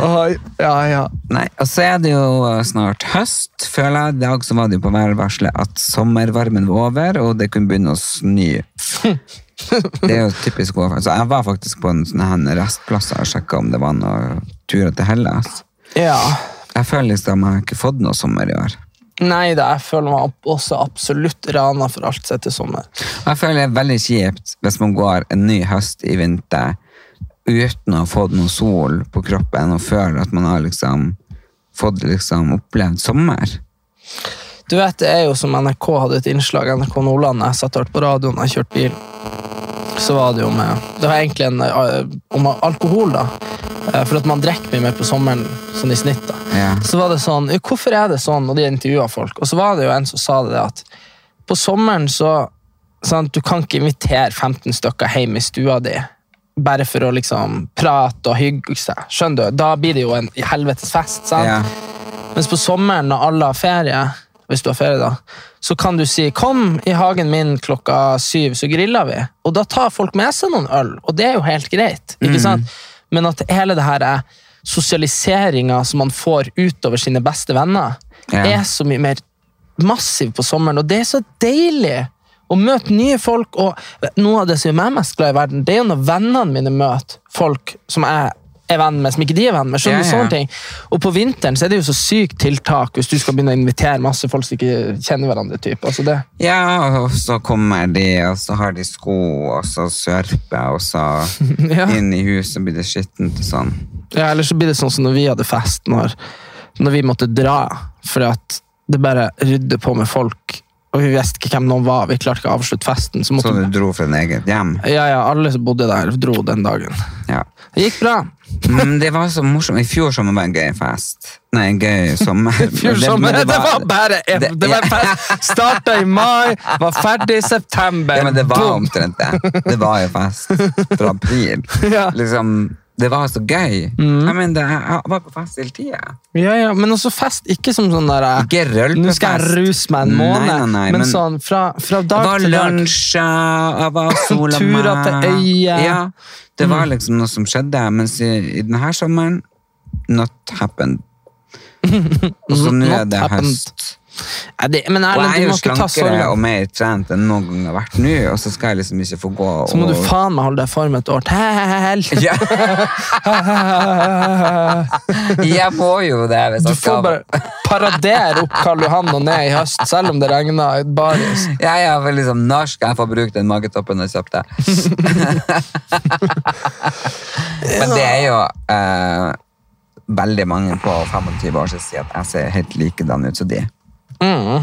Oi, ja, ja.
Nei, og så er det jo snart høst, føler jeg. I dag så var det jo på værvarselet at sommervarmen var over, og det kunne begynne å snø.
[LAUGHS]
Det er jo typisk overfor. Så jeg var faktisk på en sånn her restplass og sjekka om det var noen turer til Hellas.
ja.
Jeg føler liksom jeg har ikke fått noe sommer i år.
Nei da, jeg føler meg opp- også absolutt rana for alt sett til sommer.
Jeg føler det er veldig kjipt hvis man går en ny høst i vinter uten å ha fått noe sol på kroppen og føler at man har liksom fått liksom opplevd sommer.
Du vet, det er jo som NRK hadde et innslag, NRK Nordland, jeg satt og hørte på radioen, jeg kjørte bil, så var det jo med, det var egentlig en, eh, om alkohol da, Eh, for at man drekker mye mer på sommeren, sånn i snitt da.
Ja.
Så var det sånn, «Ja, hvorfor er det sånn, og de intervjuet folk, og så var det jo en som sa det at, på sommeren så, sant, du kan ikke invitere 15 stykker hjem i stua di, bare for å liksom prate og hygge seg, skjønner du? Da blir det jo en helvetes fest, sant?
Ja.
Mens på sommeren når alle har ferie, hvis du har ferie da, så kan du si 'kom i hagen min klokka syv, så griller vi'. Og da tar folk med seg noen øl, og det er jo helt greit. ikke sant? Men at hele det her er sosialiseringa som man får utover sine beste venner,
Ja.
er så mye mer massiv på sommeren, og det er så deilig. Å møte nye folk, og noe av det som gjør meg mest glad i verden, det er jo når vennene mine møter folk som jeg er venn med, som ikke de er venn med. Skjønner du
Ja, ja.
Sånn- sånne ting? ting. Og på vinteren så er det jo så sykt tiltak hvis du skal begynne å invitere masse folk som ikke kjenner hverandre. Typ. Altså det.
Ja, og så kommer de, og så har de sko, og så sørper, og
[LAUGHS]
så
Ja.
inn i huset blir det skittent og sånn.
Ja, Eller så blir det sånn som når vi hadde fest, når, når vi måtte dra. For at det bare rydde på med folk, og vi visste ikke hvem noen var. Vi klarte ikke å avslutte festen. Så
Så
måtte
du dro fra din eget hjem.
ja, ja, alle som bodde der, dro den dagen.
Ja.
Det gikk bra.
Men det var så morsomt. I fjor sommer var en gøy fest. Nei, en gøy
[LAUGHS]
sommer.
Fjor sommer,
men
det, var bare en,
det-
det var en
ja.
fest. Starta i mai, var ferdig i september.
Ja, men det var
Boom.
omtrent det. Det var jo fest fra april.
[LAUGHS] Ja. Mm.
Liksom, det var så gøy. Jeg mener, jeg var på fest hele tida.
Ja, ja, men også fest, ikke som sånn der eh,
Ikke rølpefest.
Nå skal jeg ruse meg en
Nei,
måned,
nei, nei,
men,
men-
sånn fra, fra
Det
dag
var
til dag.
lunsj, jeg
[LAUGHS]
var sola
Turer til øya. Mm.
Ja, det var liksom noe som skjedde, mens i, i denne sommeren, not happened. Og så nå er
Not
det
[LAUGHS] happened.
høst.
Ja, det, men
Og
Erlend,
jeg er
du
jo
må ikke ta
slankere
sorgen.
og mer trent enn noen gang jeg har vært nå, og så skal jeg liksom ikke få gå
Så må du
og
faen meg holde deg i form et år til. [LAUGHS]
ja, [LAUGHS] Jeg må jo det hvis
Du får
jeg skal
bare paradere opp Karl Johan og ned i høst, selv om det regner [LAUGHS] baris.
Ja, ja, for liksom, når skal jeg få brukt den magetoppen jeg kjøpte?
[LAUGHS]
Men det er jo eh, veldig mange på 25 år som sier at jeg ser helt likedan ut som de.
Mm.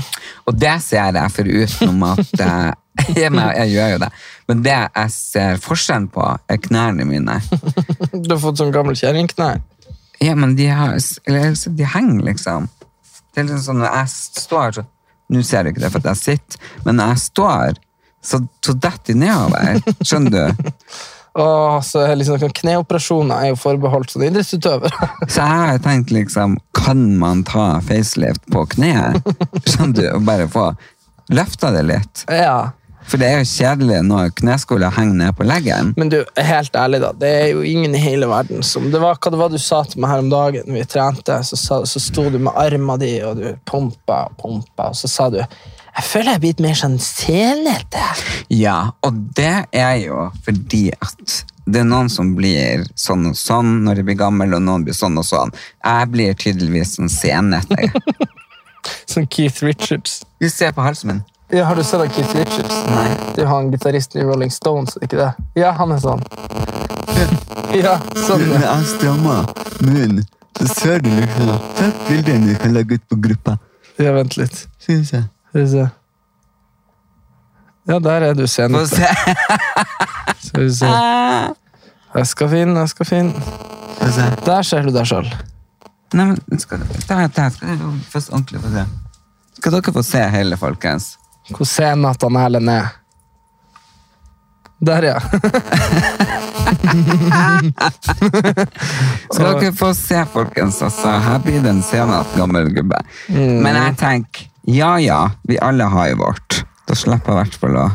Og det ser jeg forutenom at eh, [LAUGHS] jeg, jeg gjør jo det. Men det jeg ser forskjellen på, er knærne mine.
Du har fått sånn gammel kjerringknær.
Ja, men de, har, eller, altså, de henger liksom. Det er liksom sånn når jeg står så, Nå ser du ikke det for at jeg sitter, men når jeg står, så, så detter de nedover. Skjønner du?
Åh, så er liksom, Kneoperasjoner er jo forbeholdt sånn sånne idrettsutøvere.
Så jeg har tenkt liksom Kan man ta facelift på kneet? Skjønner du? Og bare få løfta det litt.
[LAUGHS] ja.
For det er jo kjedelig når kneskåla henger ned på leggen.
Men du, helt ærlig da, det er jo ingen i hele verden som det var, Hva det var du sa til meg her om dagen vi trente, så, sa, så sto du med arma di og du pumpa og pumpa, og så sa du jeg føler jeg er blitt mer sånn selete.
Ja, og det er jo fordi at det er noen som blir sånn og sånn når de blir gammel, og noen blir sånn og sånn. Jeg blir tydeligvis sånn senete.
Som Sånn Keith Richards.
Du ser på halsen min.
Ja, Har du sett han Keith Richards? Nei. Det er jo han gitaristen i Rolling Stones, er det ikke det? Ja, han er sånn. ja, sånn. ja.
jeg strammer munnen, så ser du liksom Takk bildene du kan legge ut på gruppa,
Ja, vent litt.
syns jeg.
Skal vi se. Ja, der er du
Få
senete.
se.
Skal vi se. Jeg skal finne, jeg skal finne.
Få se.
Der ser du deg sjøl.
Nei, men skal, der, der, skal dere først ordentlig få se. Skal dere få se hele, folkens?
Hvor sen at han Erlend er. Der, ja.
Skal dere få se, folkens? Altså, her blir det en scene av gammel gubbe.
Mm.
Men jeg tenker, ja ja, vi alle har jo vårt. Da slipper jeg i hvert fall å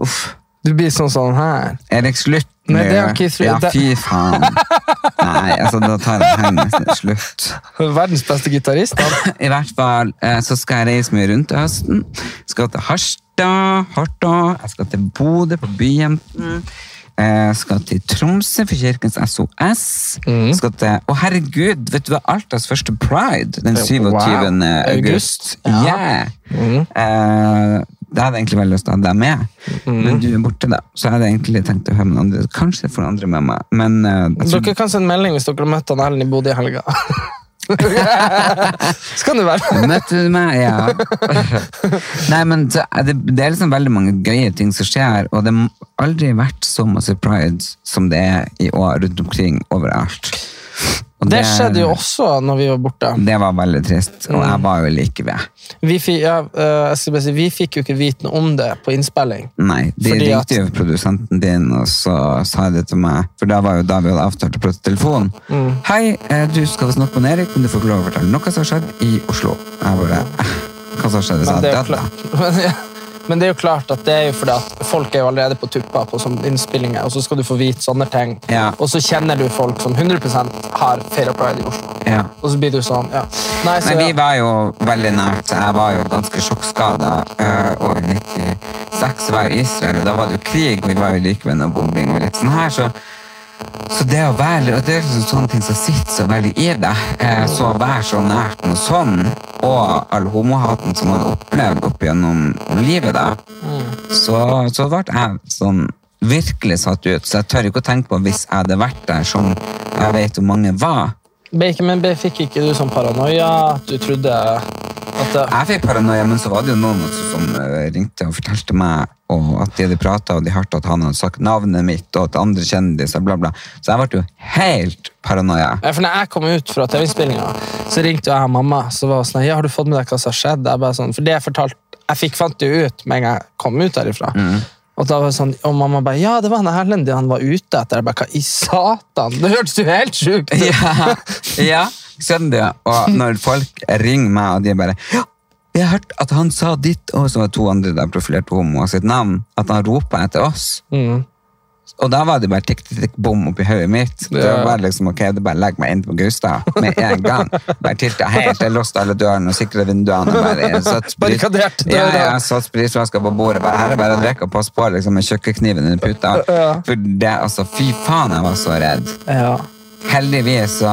Uff.
Du blir sånn sånn her.
Erik, slutt nå.
Nei, det er ikke slutt.
Ja,
Det-
fy
[LAUGHS]
faen. Nei, altså, da tar jeg hengen. Slutt.
Verdens beste gitarist. han.
I hvert fall eh, så skal jeg reise mye rundt i høsten. Skal til Harstad, Harstad. Jeg skal til Bodø på Byjenten. Eh, skal til Tromsø for Kirkens SOS.
Mm.
Skal til, å herregud, vet du hva? Altas første pride den 27.
Eh, Wow.
august.
August. Ja. Mm.
Yeah. Eh, det hadde jeg egentlig veldig lyst til å ha deg med,
Mm.
men du er borte, da. Så jeg hadde egentlig tenkt å ha med noen andre. Kanskje jeg får noen andre med meg, men eh, jeg tror
Dere kan sende melding hvis dere har møtt han Erlend i Bodø i helga. Så kan det være.
Møtte du meg? Ja.
[LAUGHS]
Nei, men det, det, det er liksom veldig mange gøye ting som skjer, og det har aldri vært så masse pride som det er i år rundt omkring overalt. Og
Det skjedde jo også Mm. når vi var borte.
Det var veldig trist, og jeg var jo like ved.
Vi fikk, ja, eh, jeg skal bare si, vi fikk jo ikke vite noe om det på innspilling.
Nei, de
Fordi at-
ringte jo produsenten din, og så sa de til meg, for da var jo da vi hadde avtalt å prate på telefon.
Mm.
Hei, eh, du skal snakke med Erik, men du får ikke lov å fortelle noe som har skjedd i Oslo. Jeg bare, eh, hva som skjedde? Så
Men det, er jo
jeg, «Dette».
klart, [LAUGHS] men, ja, men det er jo klart at det er jo fordi at folk er jo allerede på tuppa på sånne innspillinger, og så skal du få vite sånne ting.
Ja.
Og så kjenner du folk som 100 har feira pride i Oslo.
Ja.
Og så blir du sånn, ja. Nei, så,
Nei, vi
ja.
var jo veldig nært. Jeg var jo ganske eh, sjokkskada. Og i 96 var jeg i Israel, og da var det jo krig. Vi var jo like ved noe bombing og litt sånn her, så så det å være, og det er liksom sånne ting som sitter så veldig i deg, eh, så å være så nært noe sånn, og all homohaten som man har opplevd opp gjennom livet da, så, så ble jeg sånn virkelig satt ut, så jeg tør ikke å tenke på hvis jeg hadde vært der som jeg vet hvor mange var,
Bacon, men be- fikk ikke du sånn paranoia at du trodde at det,
Jeg fikk paranoia, men så var det jo noen også som eh, ringte og fortalte meg og at de hadde prata og de hørte at han hadde sagt navnet mitt og at andre kjendiser, bla, bla. Så jeg ble jo helt paranoia.
Nei, for når jeg kom ut fra TV-innspillinga, så ringte jeg mamma. Så var hun sånn, ja, har du fått med deg hva som har skjedd? Jeg bare sånn, for det jeg fortalte, jeg fikk fant det jo ut med en gang jeg kom ut derifra.
Mm.
Og da var det sånn, og mamma bare, ja, det var han Erlend det han var ute etter. Jeg bare, hva i satan? Det hørtes jo helt sjukt [LAUGHS] ut.
Ja, [LAUGHS] ja skjønner du? Og når folk ringer meg, og de bare «Ja, jeg har hørt at han sa
Mm.
ditt, og så var det to andre der profilerte homo og sitt navn, at han roper etter oss. Og da var det bare tikk, tikk, tikk, bom oppi hodet mitt. Det
Ja.
var liksom, ok, det bare legg meg inn på Gaustad med
[LAUGHS]
en gang. Bare tilta helt, jeg låste alle dørene og sikret vinduene. og
[LAUGHS]
Bare satt sprit-
Barrikaderte
Ja,
døra.
ja, satt spritflasker på bordet. Bare, her er bare å drikke og passe på liksom, med kjøkkenkniven under puta.
[LAUGHS] Ja.
For det, altså, fy faen, jeg var så redd.
Ja.
Heldigvis så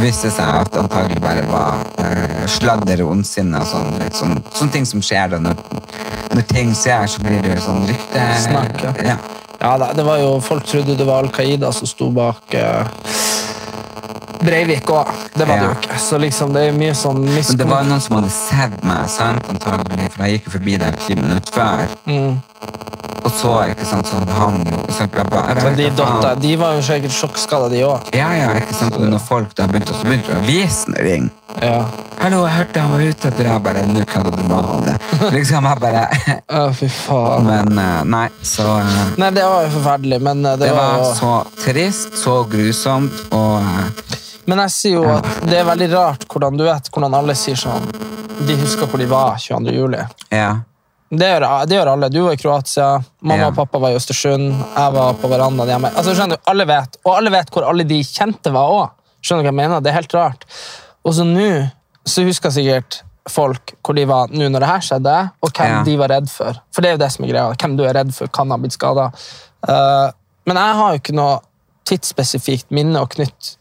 viste det seg at det antagelig bare var eh, sladder og ondsinne og sånn, litt sånn, sånne ting som skjer da når, når ting skjer, så blir det jo sånn rykte.
Snakk, ja.
ja.
ja da, det var jo, folk trodde det var Al Qaida som sto bak eh, Breivik òg. Det var det
Ja.
jo ikke. Så liksom, det er mye sånn
Men det var
miskommunikasjon.
noen som hadde sett meg, sant, antagelig, for jeg gikk jo forbi der ti minutter før.
Mm.
Og så, ikke sant, så han jo, så jeg bare, jeg
Men
vet
de
da faen.
dotta, de var jo sikkert sjokkskada, de òg.
Ja, ja, ikke sant, og når folk da begynte, så begynte avisen å ringe.
Ja.
Hallo, jeg hørte han var ute etter det, jeg bare, nå kan du male.
[LAUGHS]
Liksom, jeg bare,
Å, fy faen.
Men eh, nei, så eh,
Nei, det var jo forferdelig, men eh, det,
Det
var,
var
jo
så trist, så grusomt, og eh,
Men jeg sier jo at det er veldig rart hvordan du vet hvordan alle sier sånn De husker hvor de var 22. juli.
ja.
Det gjør, det gjør alle. Du var i Kroatia, mamma
Ja.
og pappa var i Østersund, jeg var på verandaen hjemme. Altså, skjønner du, alle vet, Og alle vet hvor alle de kjente var òg. Skjønner du hva jeg mener? Det er helt rart. Og så nå så husker sikkert folk hvor de var nå når det her skjedde, og hvem
Ja.
de var redd for. For det er jo det som er greia. Hvem du er redd for, kan ha blitt skada. men jeg har jo ikke noe tidsspesifikt minne å knytte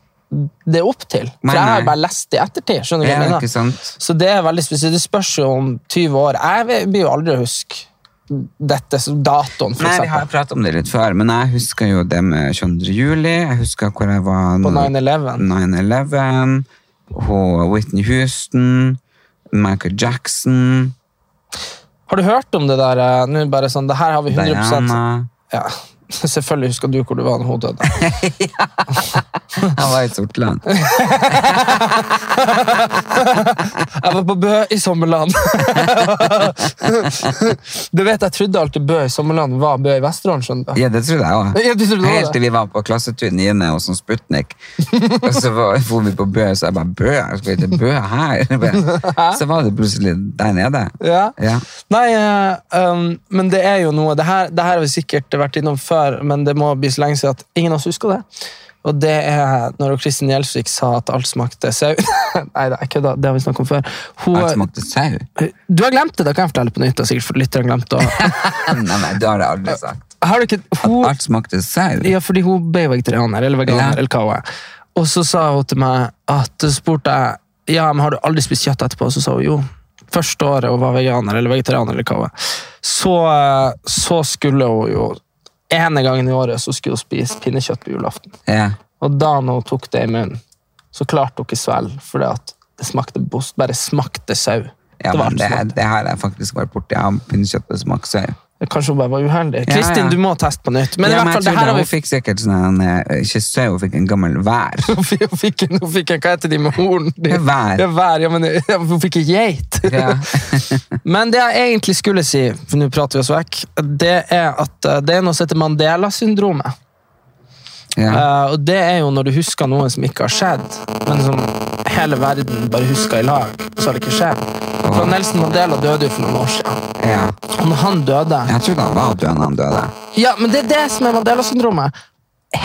det opp til. For
Nei,
jeg har
nei.
jo bare lest det i ettertid. skjønner du hva
Ja,
jeg mener?
ikke sant?
Så det er veldig spesielt. Det spørs jo om 20 år. Jeg vil- blir jo aldri å huske dette som datoen, for
Nei, vi har
eksempel.
pratet om det litt før, men jeg husker jo det med 22. juli. Jeg husker hvor jeg var
På
når-
9-11.
9-11. og Whitney Houston, Michael Jackson,
Har du hørt om det der? eh, Nå bare sånn, det her har vi 100
Diana.
ja. [LAUGHS] Selvfølgelig husker du hvor du var da hun
[LAUGHS]
døde.
Jeg var i Sortland.
Jeg var på Bø i
[LAUGHS]
Sommerland. du vet, Jeg trodde alltid Bø i Sommerland var Bø i Vesterålen. skjønner du?
Ja, det trodde jeg også.
Ja, du trodde det var
Helt
det.
til vi var på klassetur 9. hos en Sputnik.
[LAUGHS]
Og så var- for vi på Bø, så jeg bare Bø? Skal vi til Bø her? [LAUGHS] Så var det plutselig der nede.
Ja.
Ja.
Nei, eh, um, men det er jo noe Det her, det her har vi sikkert vært innom før, men det må bli så lenge siden at ingen av oss husker det. Og det er når Kristin Gjelsvik sa at alt smakte sau. [LAUGHS] Nei, det er ikke det. Det har vi snakket om før. Hun,
Alt smakte sau.
du har glemt det, da kan jeg fortelle på nytt. da, sikkert for lytteren glemte
[LAUGHS]
det.
Nei, nei, det har jeg aldri sagt.
Har du ikke, hun,
Alt smakte sau.
Ja, fordi hun ble vegetarianer, eller veganer,
Ja.
eller hva hun er. Og så sa hun til meg at så spurte jeg ja, men har du aldri spist kjøtt etterpå. Så sa hun jo. Første året hun var veganer eller vegetarianer, eller hva hun er, så, eh, så skulle hun jo ene gangen i året så skulle hun spise pinnekjøtt på julaften.
Ja.
Og da når hun tok det i munnen, så klarte hun ikke svelge, fordi at det smakte bost, bare smakte sau.
Ja,
det var
men det,
alt som
det har jeg faktisk vært borti. Jeg har pinnekjøtt og smak sau.
smakte. Kanskje hun bare var uheldig.
Ja,
Kristin,
ja.
du må teste på nytt. Men
Ja,
i
men
hvert fall,
jeg
det
trodde
her har
Hun
vi
fikk sikkert sånn en, eh, ikke sau, hun fikk en gammel vær.
Hun fikk, hun fikk en, hva heter de med
[LAUGHS]
horn? De,
Ja, vær.
[LAUGHS] Ja, vær, ja, men ja, hun fikk en geit.
Ja.
men det jeg egentlig skulle si, for nå prater vi oss vekk, det er at eh, det er noe som heter Mandela-syndromet.
Ja.
Eh, og det er jo når du husker noe som ikke har skjedd, men som hele verden bare husker i lag, så har det ikke skjedd. For Nelson Mandela døde jo for noen år siden.
ja.
Og når han døde
Jeg trodde han var død da han døde.
Ja, men det er det som er Mandela-syndromet.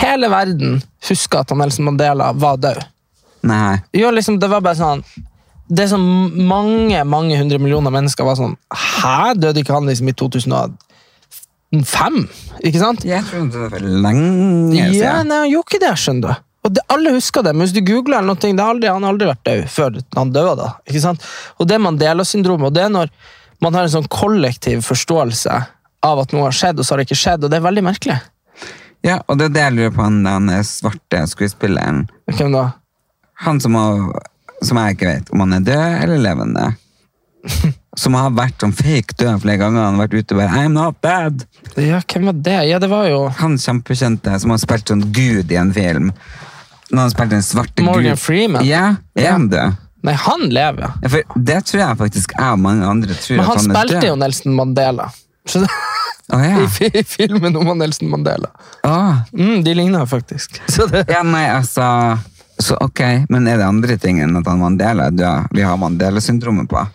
Hele verden husker at han Nelson Mandela var død.
Nei.
Jo, liksom, det var bare sånn Det som mange, mange hundre millioner mennesker var sånn Hæ? Døde ikke han liksom i 2005? Ikke sant?
Jeg trodde det var lenge siden.
Ja, nei, han gjorde ikke det, skjønner du. Og det, Alle husker det, men hvis du googler eller noe, det har aldri, han har aldri vært død før han døde. da, ikke sant? Og Det er Mandela-syndromet, og det er når man har en sånn kollektiv forståelse av at noe har skjedd, og så har det ikke skjedd, og det er veldig merkelig.
Ja, og det er det jeg lurer på, han den svarte skuespilleren.
Hvem da?
Han som, har, som jeg ikke vet om han er død eller levende.
[LAUGHS]
Som har vært sånn fake død flere ganger. Han har vært ute og bare I'm not dead.
Ja, hvem var det? Ja, det var jo
Han kjempekjente som har spilt sånn gud i en film. Når han spilte en svarte
Morgan
gud.
Freeman.
Ja, er han død?
Nei, han lever, ja.
Ja, For det tror jeg faktisk jeg og mange andre tror
Men
at
han
han, er død.
spilte jo Nelson Mandela. Så det,
Å, ja.
i, fi- I [LAUGHS] filmen om han Nelson Mandela.
Å.
Mm, de ligner faktisk. Så det,
Ja, nei, altså Så ok, men er det andre ting enn at han Mandela er død vi har Mandela-syndromet på?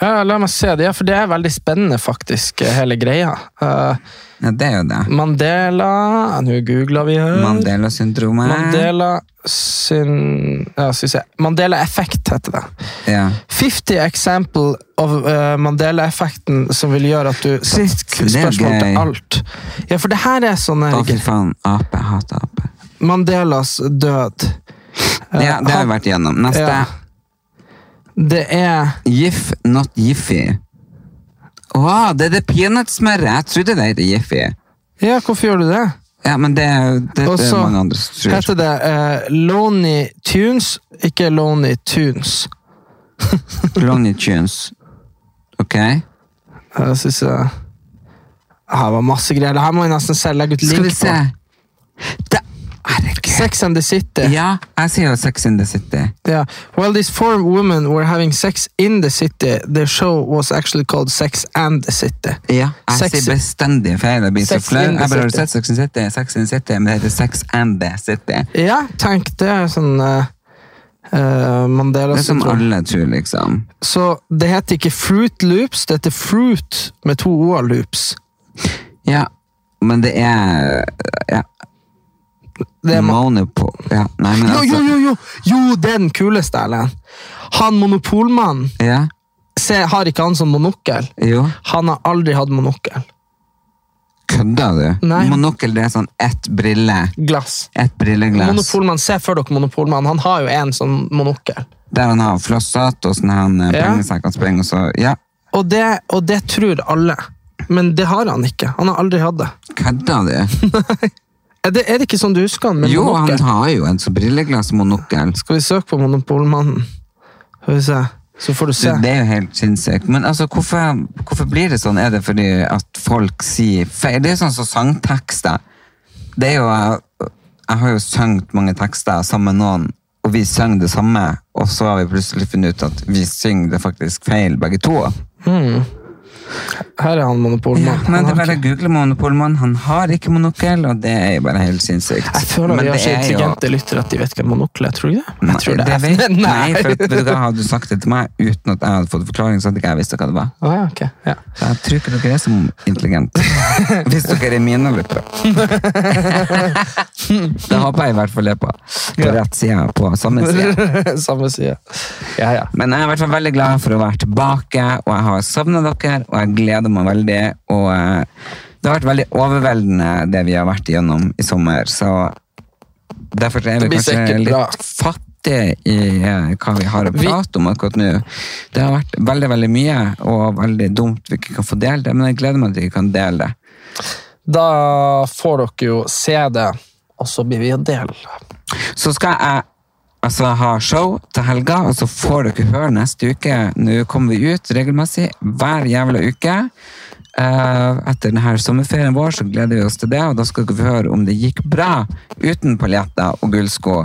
Ja, la meg se det, ja, for det er veldig spennende, faktisk, hele greia. Eh,
Ja, det er jo det.
Mandela Nå googler vi her.
Mandela-syndromet.
Mm. Mandela sin ja, skal vi se. Mandela effekt heter det.
Ja.
50 example of eh, Mandela-effekten som vil gjøre at du
Shit,
setter
det er
spørsmål
gøy.
til alt. Ja, for det her er sånn
Å, fy
eh,
faen. Ape. Jeg hater ape.
Mandelas død. Eh,
Ja, det har
han-
vi vært igjennom. Neste.
Ja. Det er
Jiff, not Jiffy. Å, det er det peanøttsmøret! Jeg trodde det het Jiffy.
Ja, hvorfor gjør du det?
Ja, men det, det,
Og
det er
så
mange andre som tror.
heter det eh, Lonely Tunes, ikke Lonely Tunes.
Lonely Tunes. Ok?
Jeg synes jeg Her var masse greier. Det her må jeg nesten selv legge ut link
Skal vi se.
på.
Da, herregud.
Sex and the City.
Ja, jeg sier jo Sex in the City.
Yeah. While these four women were having sex in the city, the show was actually called Sex and the City.
Ja, jeg
Sex-
sier bestendig feil. Jeg blir så
Sex
flau.
in
Jeg
the
bare har du
City.
sett Sex in the City, Sex in the City, men det heter Sex and the City.
Ja, tenk, det er sånn eh, eh, Mandela
Det er som
syndrom.
alle tror, liksom.
Så det heter ikke Fruit Loops, det heter Fruit med to O-er Loops.
Ja, men det er ja,
Det
Mm.
er ma-
Monopol ja, Nei, men
jo, jo,
altså
jo, jo! Jo, det er den kuleste, Erlend. Han monopolmannen,
Ja,
se, har ikke han som monokkel?
jo.
Han har aldri hatt monokkel.
Kødder du?
Nei.
Monokkel det er sånn ett brille.
Glass.
Ett brilleglass.
Monopolmann, se for dere monopolmann. Han har jo en sånn monokkel.
Der han har flosshatt og sånn han eh,
Ja.
pengesekk han springer, og så Ja,
Og det, og det tror alle. Men det har han ikke. Han har aldri hatt det.
kødder du?
Er det, er det ikke sånn du husker han? med
Jo, han
monokkel?
har jo en sånn brilleglassmonokkel.
Skal vi søke på Monopolmannen? Skal vi se. Så får du
Du,
se.
Det er jo helt sinnssykt. Men altså, hvorfor, hvorfor blir det sånn? Er det fordi at folk sier feil? Det er jo sånn som sangtekster. Det er jo Jeg, jeg har jo sunget mange tekster sammen med noen, og vi sang det samme, og så har vi plutselig funnet ut at vi synger det faktisk feil, begge to.
Her er han
Ja,
Monopolmannen. Han
men det
har
er bare å
ikke-
google monopolmann. Han har ikke monokkel, og det er jo bare helt sinnssykt.
jeg føler
Men
vi har
det
så
er jo-
intelligente lyttere at de vet hva monokkel er. Tror du det?
Nei,
Jeg tror det,
det
er
vet- Nei, for at, vet du
[LAUGHS] Nei.
hva, Hadde du sagt det til meg uten at jeg hadde fått forklaring, så hadde ikke jeg visst hva det var.
Ah, ja, ok. ja.
Så jeg tror ikke dere er så intelligente. Hvis dere er mine lyttere. Det håper jeg i hvert fall er på. På rett side, på samme side.
[LAUGHS] Samme side. Ja, ja.
Men jeg er i hvert fall veldig glad for å være tilbake, og jeg har savna dere, og jeg gleder meg veldig. Og eh, det har vært veldig overveldende, det vi har vært igjennom i sommer. Så derfor er
Det
vi
blir
kanskje
sikkert
litt
bra.
fattige i eh, hva vi har å
Vi-
prate om akkurat nå. Det har vært veldig veldig mye, og veldig dumt vi ikke kan få delt det, men jeg gleder meg til vi kan dele det.
Da får dere jo se det, og så blir vi en del.
Så skal jeg altså, ha show til helga, og så får dere høre neste uke. Nå kommer vi ut regelmessig hver jævla uke. Eh, etter denne sommerferien vår så gleder vi oss til det, og da skal dere få høre om det gikk bra uten paljetter og gullsko,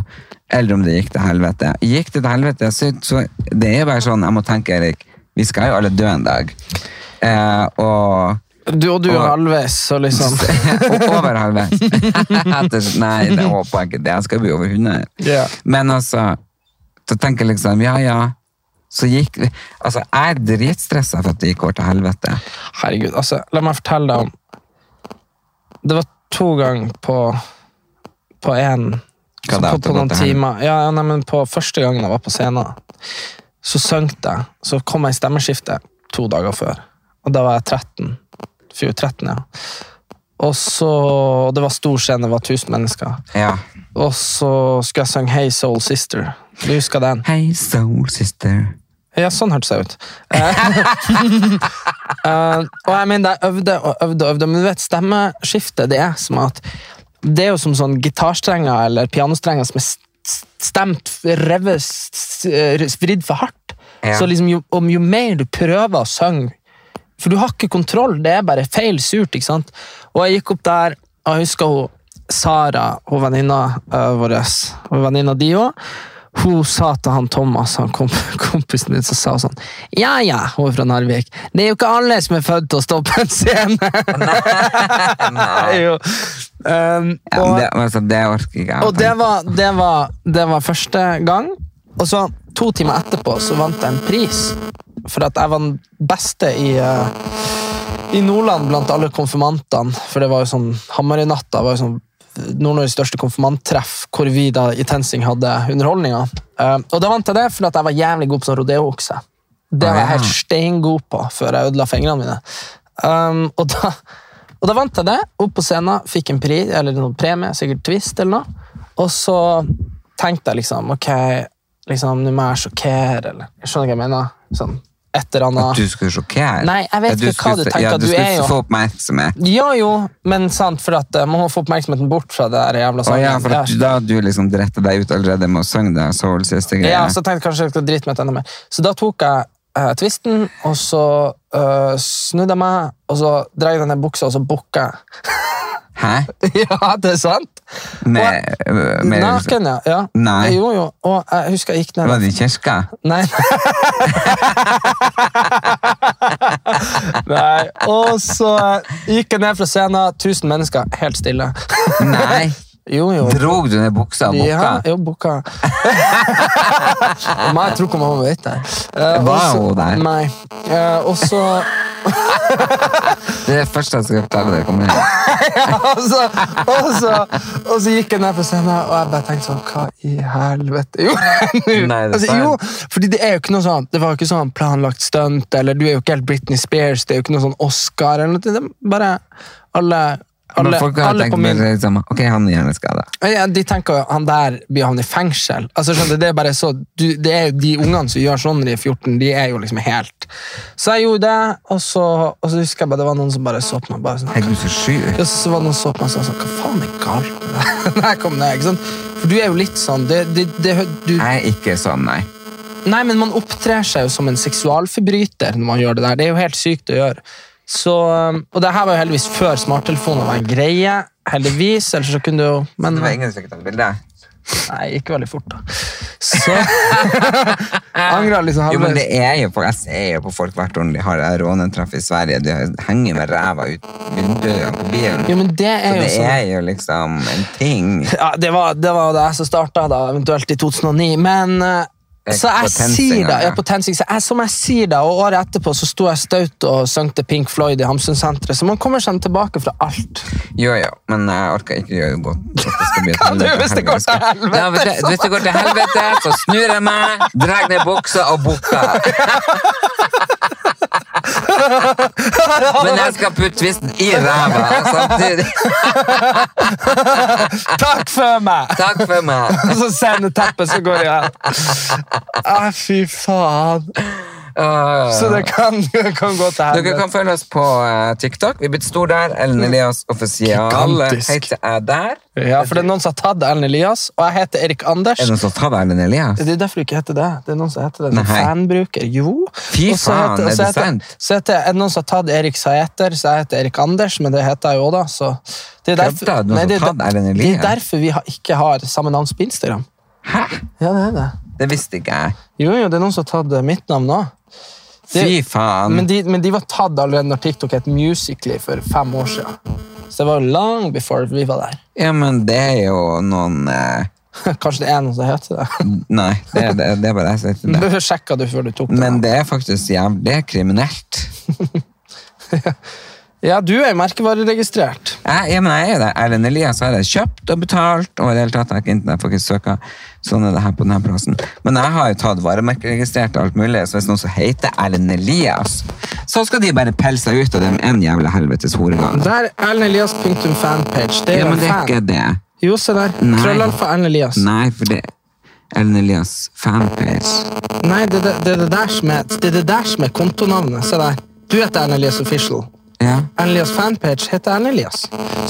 eller om det gikk til helvete. Gikk det til helvete, så, så det er bare sånn, jeg må tenke, Erik, vi skal jo alle dø en dag. Eh, og
Du og du er
Og-
halvveis, så liksom
[LAUGHS] og over [LAUGHS] halvveis. Etter- Nei, det håper jeg ikke. Det Jeg skal bli over 100.
Ja.
Men altså, så tenker jeg liksom, ja, ja. Så gikk vi... Altså, jeg er dritstresset for at det gikk over til helvete.
Herregud, altså, la meg fortelle deg om Det var to ganger på På en
Hva
så
da,
på,
at det
på
var
noen
til helvete?
timer ja, ja, nei, men På første gangen jeg var på scenen Så sønk jeg Så kom jeg i stemmeskiftet to dager før Og da var jeg 13 Fy, 13, ja og så, og det var stor scene, det var tusen mennesker
Ja.
Og så skulle jeg synge Hey Soul Sister Du husker den?
Hei, soul sister.
Ja, sånn hørtes jeg ut. Eh, eh, og jeg mener, jeg øvde og øvde og øvde, men du vet, stemmeskiftet, det er som at Det er jo som sånn gitarstrenger eller pianostrenger som er s- s- stemt, revet, s- s- vridd for hardt.
Ja.
Så liksom, jo, om jo mer du prøver å synge For du har ikke kontroll, det er bare feil surt, ikke sant? Og jeg gikk opp der, og jeg husker hun Sara, hun venninna eh, vår, og venninna di òg, hun sa til han Thomas, han komp [LAUGHS] kompisen min, så sa hun sånn Ja ja, hun er fra Narvik. Det er jo ikke alle som er født til å stå på en scene! Nei. [LAUGHS] jo. Um,
Ja,
og,
men det, altså, det orker ikke jeg. å
og det
tenke.
var, det, var, det var første gang. Og så to timer etterpå så vant jeg en pris For at jeg var den beste i, eh, i Nordland blant alle konfirmantene. For det var jo sånn Hamarøynatta var jo sånn Nord-Norges største konfirmanttreff, hvor vi da i TenSing hadde underholdninga. Eh, og da vant jeg det fordi at jeg var jævlig god på sånn rodeookse. Det var jeg helt steingod på før jeg ødela fingrene mine. Um, og, da, og da vant jeg det. Opp på scenen, fikk en pri, eller noen premie, sikkert Twist eller noe. Og så tenkte jeg liksom Ok, liksom, nå må jeg sjokkere, eller jeg Skjønner du hva jeg mener? Sånn, et eller
At
annet.
du skulle sjokkere?
Nei, jeg vet
At
ikke hva du
skulle-
tenker
Ja,
at
du
du
skulle
er, jo.
få oppmerksomhet.
Ja jo, men sant, for at eh, man må få oppmerksomheten bort fra det der jævla
Å
sangen.
ja, for
der.
at du, da du liksom drette deg ut allerede med å synge det soul sister
Ja,
greia.
så tenkte jeg kanskje jeg skulle drite meg ut enda mer. Så da tok jeg eh, twisten, og så eh, snudde jeg meg, og så dreier jeg ned buksa, og så bukka jeg.
Hæ?
[LAUGHS] Ja, det er sant!
Med, med,
Naken, ja. ja.
Nei.
Jo, jo. Og jeg husker jeg gikk
Var
ned
det i kirka? [LAUGHS]
Nei. Nei. Og så gikk jeg ned fra scenen, 1000 mennesker, helt stille.
Nei.
Jo, jo.
Drog du ned buksa og
Ja,
bukka?
jo,
[LAUGHS]
bukka. Og meg, jeg tror ikke mamma vet det. Eh,
Var
og så-
hun der?
Nei. Eh, og så
Det er det første jeg skal fortelle deg. Kom igjen.
og, så, og, så, og så gikk jeg ned på scenen, og jeg bare tenkte sånn Hva i helvete gjorde jeg nå?
Nei,
[LAUGHS]
det er
altså,
feil.
jo, fordi det er jo ikke noe sånn Det var jo ikke sånn planlagt stunt, eller du er jo ikke helt Britney Spears, det er jo ikke noe sånn Oscar eller noe. Det er bare alle,
Men
alle,
folk har
alle
tenkt
på min
bare liksom, ok, han er hjerneskada.
ja, De tenker jo han der blir havnet i fengsel. Altså, skjønner du, det er bare så du, Det er jo de ungene som gjør sånn når de er 14, de er jo liksom helt Så jeg gjorde det, og så, og så husker jeg bare det var noen som bare så på meg. bare sånn
Herregud, så sjuk.
ja, så var det noen som så på meg og sa sånn, hva faen er galt med deg? [LAUGHS] Når jeg kom ned, ikke sant? For du er jo litt sånn, det, det, det, du...
Jeg er ikke sånn, nei.
Nei, men man opptrer seg jo som en seksualforbryter når man gjør det der. Det er jo helt sykt å gjøre. Så, um, og det her var jo heldigvis før smarttelefoner var en greie, heldigvis, ellers så kunne du jo... Men,
Det var ingen som fikk tatt bilde.
nei, ikke veldig fort da. Så... Angrer liksom
Jo, men
halvveis.
det er jo på, jeg ser jo på folk hvert år når de har rånetraff i Sverige. De henger med ræva ut vinduet på bilen.
Jo, men det er
Så
jo
det
sånn...
er jo liksom en ting.
Ja, det var det, var det jeg som starta, da, eventuelt i 2009. Men eh, så
På
jeg
TenSing,
sier da,
ja.
ja, på TenSing, så jeg, som jeg sier da, og året etterpå så sto jeg staut og sang til Pink Floyd i Hamsunsenteret, så man kommer seg tilbake fra alt.
Jo, jo, men jeg orker ikke gjøre godt. at det skal
[LAUGHS]
bli et
Hva du,
helvete
hvis det går til
helvete?
helvete,
Ja, hvis det-
så-
Hvis det går til helvete, så snur jeg meg, drar ned buksa og
[LAUGHS]
bukker. Men jeg skal putte tvisten i ræva samtidig.
Takk for meg! [LAUGHS]
Takk for meg.
Og så sender teppet, så går jeg ah, Fy faen.
Åh.
Så det kan, det kan gå til
Dere
helvete.
kan følge oss på eh, TikTok. Vi er blitt stor der. Ellen Elias offisial
Gigantisk.
heter jeg der.
Ja, for det er noen som har tatt Ellen Elias, og jeg heter Erik Anders.
Er det noen som tar Ellen Elias?
Det er derfor du ikke heter det. Det er noen som heter det. som
Nei.
Fanbruker. Jo.
Fy
Og så
faen,
heter- og
er
så
det
heter-
sant?
Så heter, er det noen som har tatt Erik Sæter, så jeg heter Erik Anders, men det heter jeg jo også da. Så det er derfor,
Kødda, noen som
det, er
har tatt
der-
Erlend
det
Elias?
er derfor vi har, ikke har samme navn på Instagram.
Hæ?
Ja, det er det.
Det visste ikke jeg.
Jo, jo, det er noen som har tatt eh, mitt navn òg.
Fy faen.
Men, de- men de var tatt allerede når TikTok het Musically for fem år siden. Så det var jo long before vi var der. [LAUGHS]
Ja, men det er jo noen eh,
Kanskje det er noen som heter det.
Nei, det, er- det, er- det er bare jeg
[LAUGHS]
som heter det.
Du sjekka du før du tok det.
Men det er faktisk jævlig kriminelt.
Ja, du er jo merkevareregistrert.
Jeg, ja, men jeg er jo det. Erlend Elias har jeg kjøpt og betalt, og i det hele tatt har jeg ikke internett, får ikke søka. Sånn er det her på denne plassen. Men jeg har jo tatt varemerkeregistrert og alt mulig, så hvis noen som heter Erlend Elias, så skal de bare pelle seg ut av dem en jævla helvetes horegang.
Der, Erlend Elias punktum fanpage. Det er
Ja,
jo
men
en
det er
fan.
ikke det.
Jo, se der.
Nei.
Krøllalfa Erlend Elias. Nei,
Nei, for det Erlend Elias fanpage.
det, det, det, er det, der som er, det er det der som er kontonavnet. Se der. Du heter Erlend Elias Official.
Ja.
Erlend Elias fanpage heter Erlend Elias.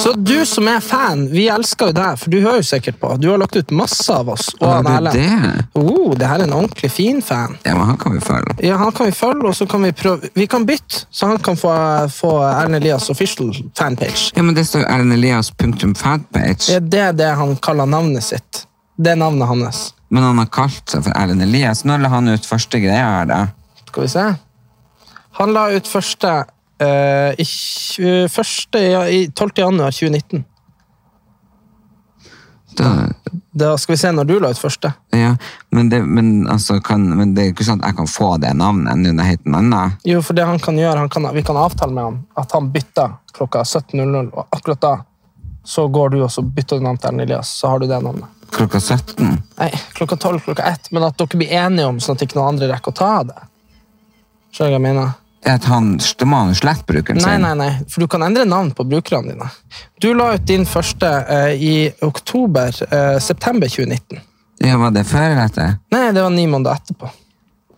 Så du som er fan, vi elsker jo deg, for du hører jo sikkert på. Du har lagt ut masse av oss. Og
Har
han
du
Erlend.
det?
Oh, det her er en ordentlig fin fan.
Ja, men han kan vi følge.
Ja, Han kan vi følge, og så kan vi prøve Vi kan bytte, så han kan få, få Erlend Elias official fanpage.
Ja, men det står Erlend Elias punktum fanpage.
Ja, det er det han kaller navnet sitt. Det er navnet hans.
Men han har kalt seg for Erlend Elias. Når la han ut første greia her, da?
Skal vi se. Han la ut første, eh, i, tj- første ja, i 12. januar 2019.
Da,
Da skal vi se når du la ut første.
Ja, men det, men, altså, kan, men det er ikke sånn at jeg kan få det navnet nå når jeg heter en annen.
Jo, for det han kan gjøre, han kan, Vi kan avtale med han at han bytter klokka 17.00, og akkurat da så går du og så bytter du navn til Elias. Så har du det navnet.
Klokka 17.
Nei, klokka 12, klokka 1, men at dere blir enige om sånn at ikke noen andre rekker å ta det. Skjønner du hva jeg mener?
Det er at han, det må han slette brukeren
Nei,
sin.
nei, nei, for du kan endre navn på brukerne dine. Du la ut din første eh, i oktober, eh, september 2019.
Ja, var det før eller etter?
Nei, det var ni måneder etterpå.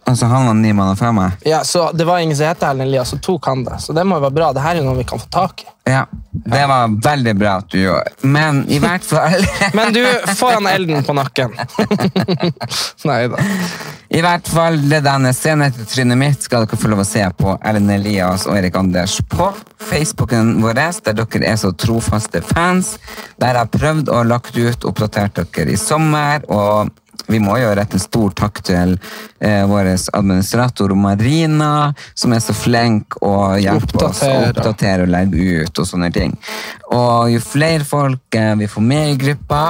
Altså, han var ni måneder før meg.
Ja, så Det var ingen som het Erlend Elias, så tok han det. Så det må jo være bra. Det her er jo noe vi kan få tak i.
Ja, det var veldig bra at du gjorde. Men i hvert fall,
[LAUGHS] Men du, får han elden på nakken? [LAUGHS] Nei da.
i hvert fall det denne scenen etter trynet mitt skal dere få lov å se på Ellen Elias og Erik Anders på Facebooken vår, der dere er så trofaste fans. Der jeg har prøvd å lagt ut, oppdatert dere i sommer, og vi må jo rette en stor takk til eh, vår administrator Marina, som er så flink og hjelper oss å
Oppdaterer.
oppdatere oppdatere og legge ut og sånne ting. Og jo flere folk eh, vi får med i gruppa,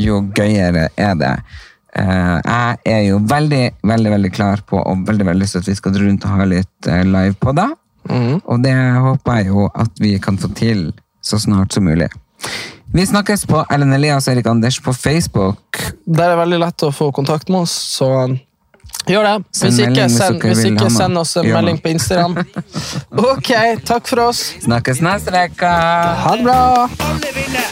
jo gøyere er det. Eh, jeg er jo veldig, veldig veldig klar på og veldig, veldig lyst til at vi skal rundt og ha litt eh, live på det. Og det håper jeg jo at vi kan få til så snart som mulig. Vi snakkes på Ellen Elias og Erik Anders på Facebook.
Der er det veldig lett å få kontakt med oss, så gjør det.
Send
Hvis ikke,
melding hvis
send,
dere
hvis
vil ha
ikke,
noe.
send oss en
Gjør
melding
noe.
på Instagram.
[LAUGHS]
Ok, takk for oss.
Snakkes neste uke!
Ha det bra.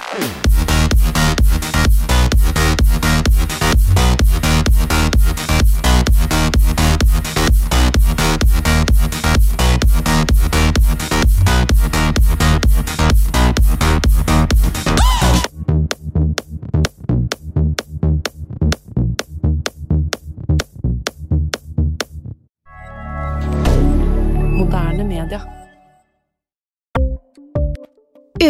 Moderne media.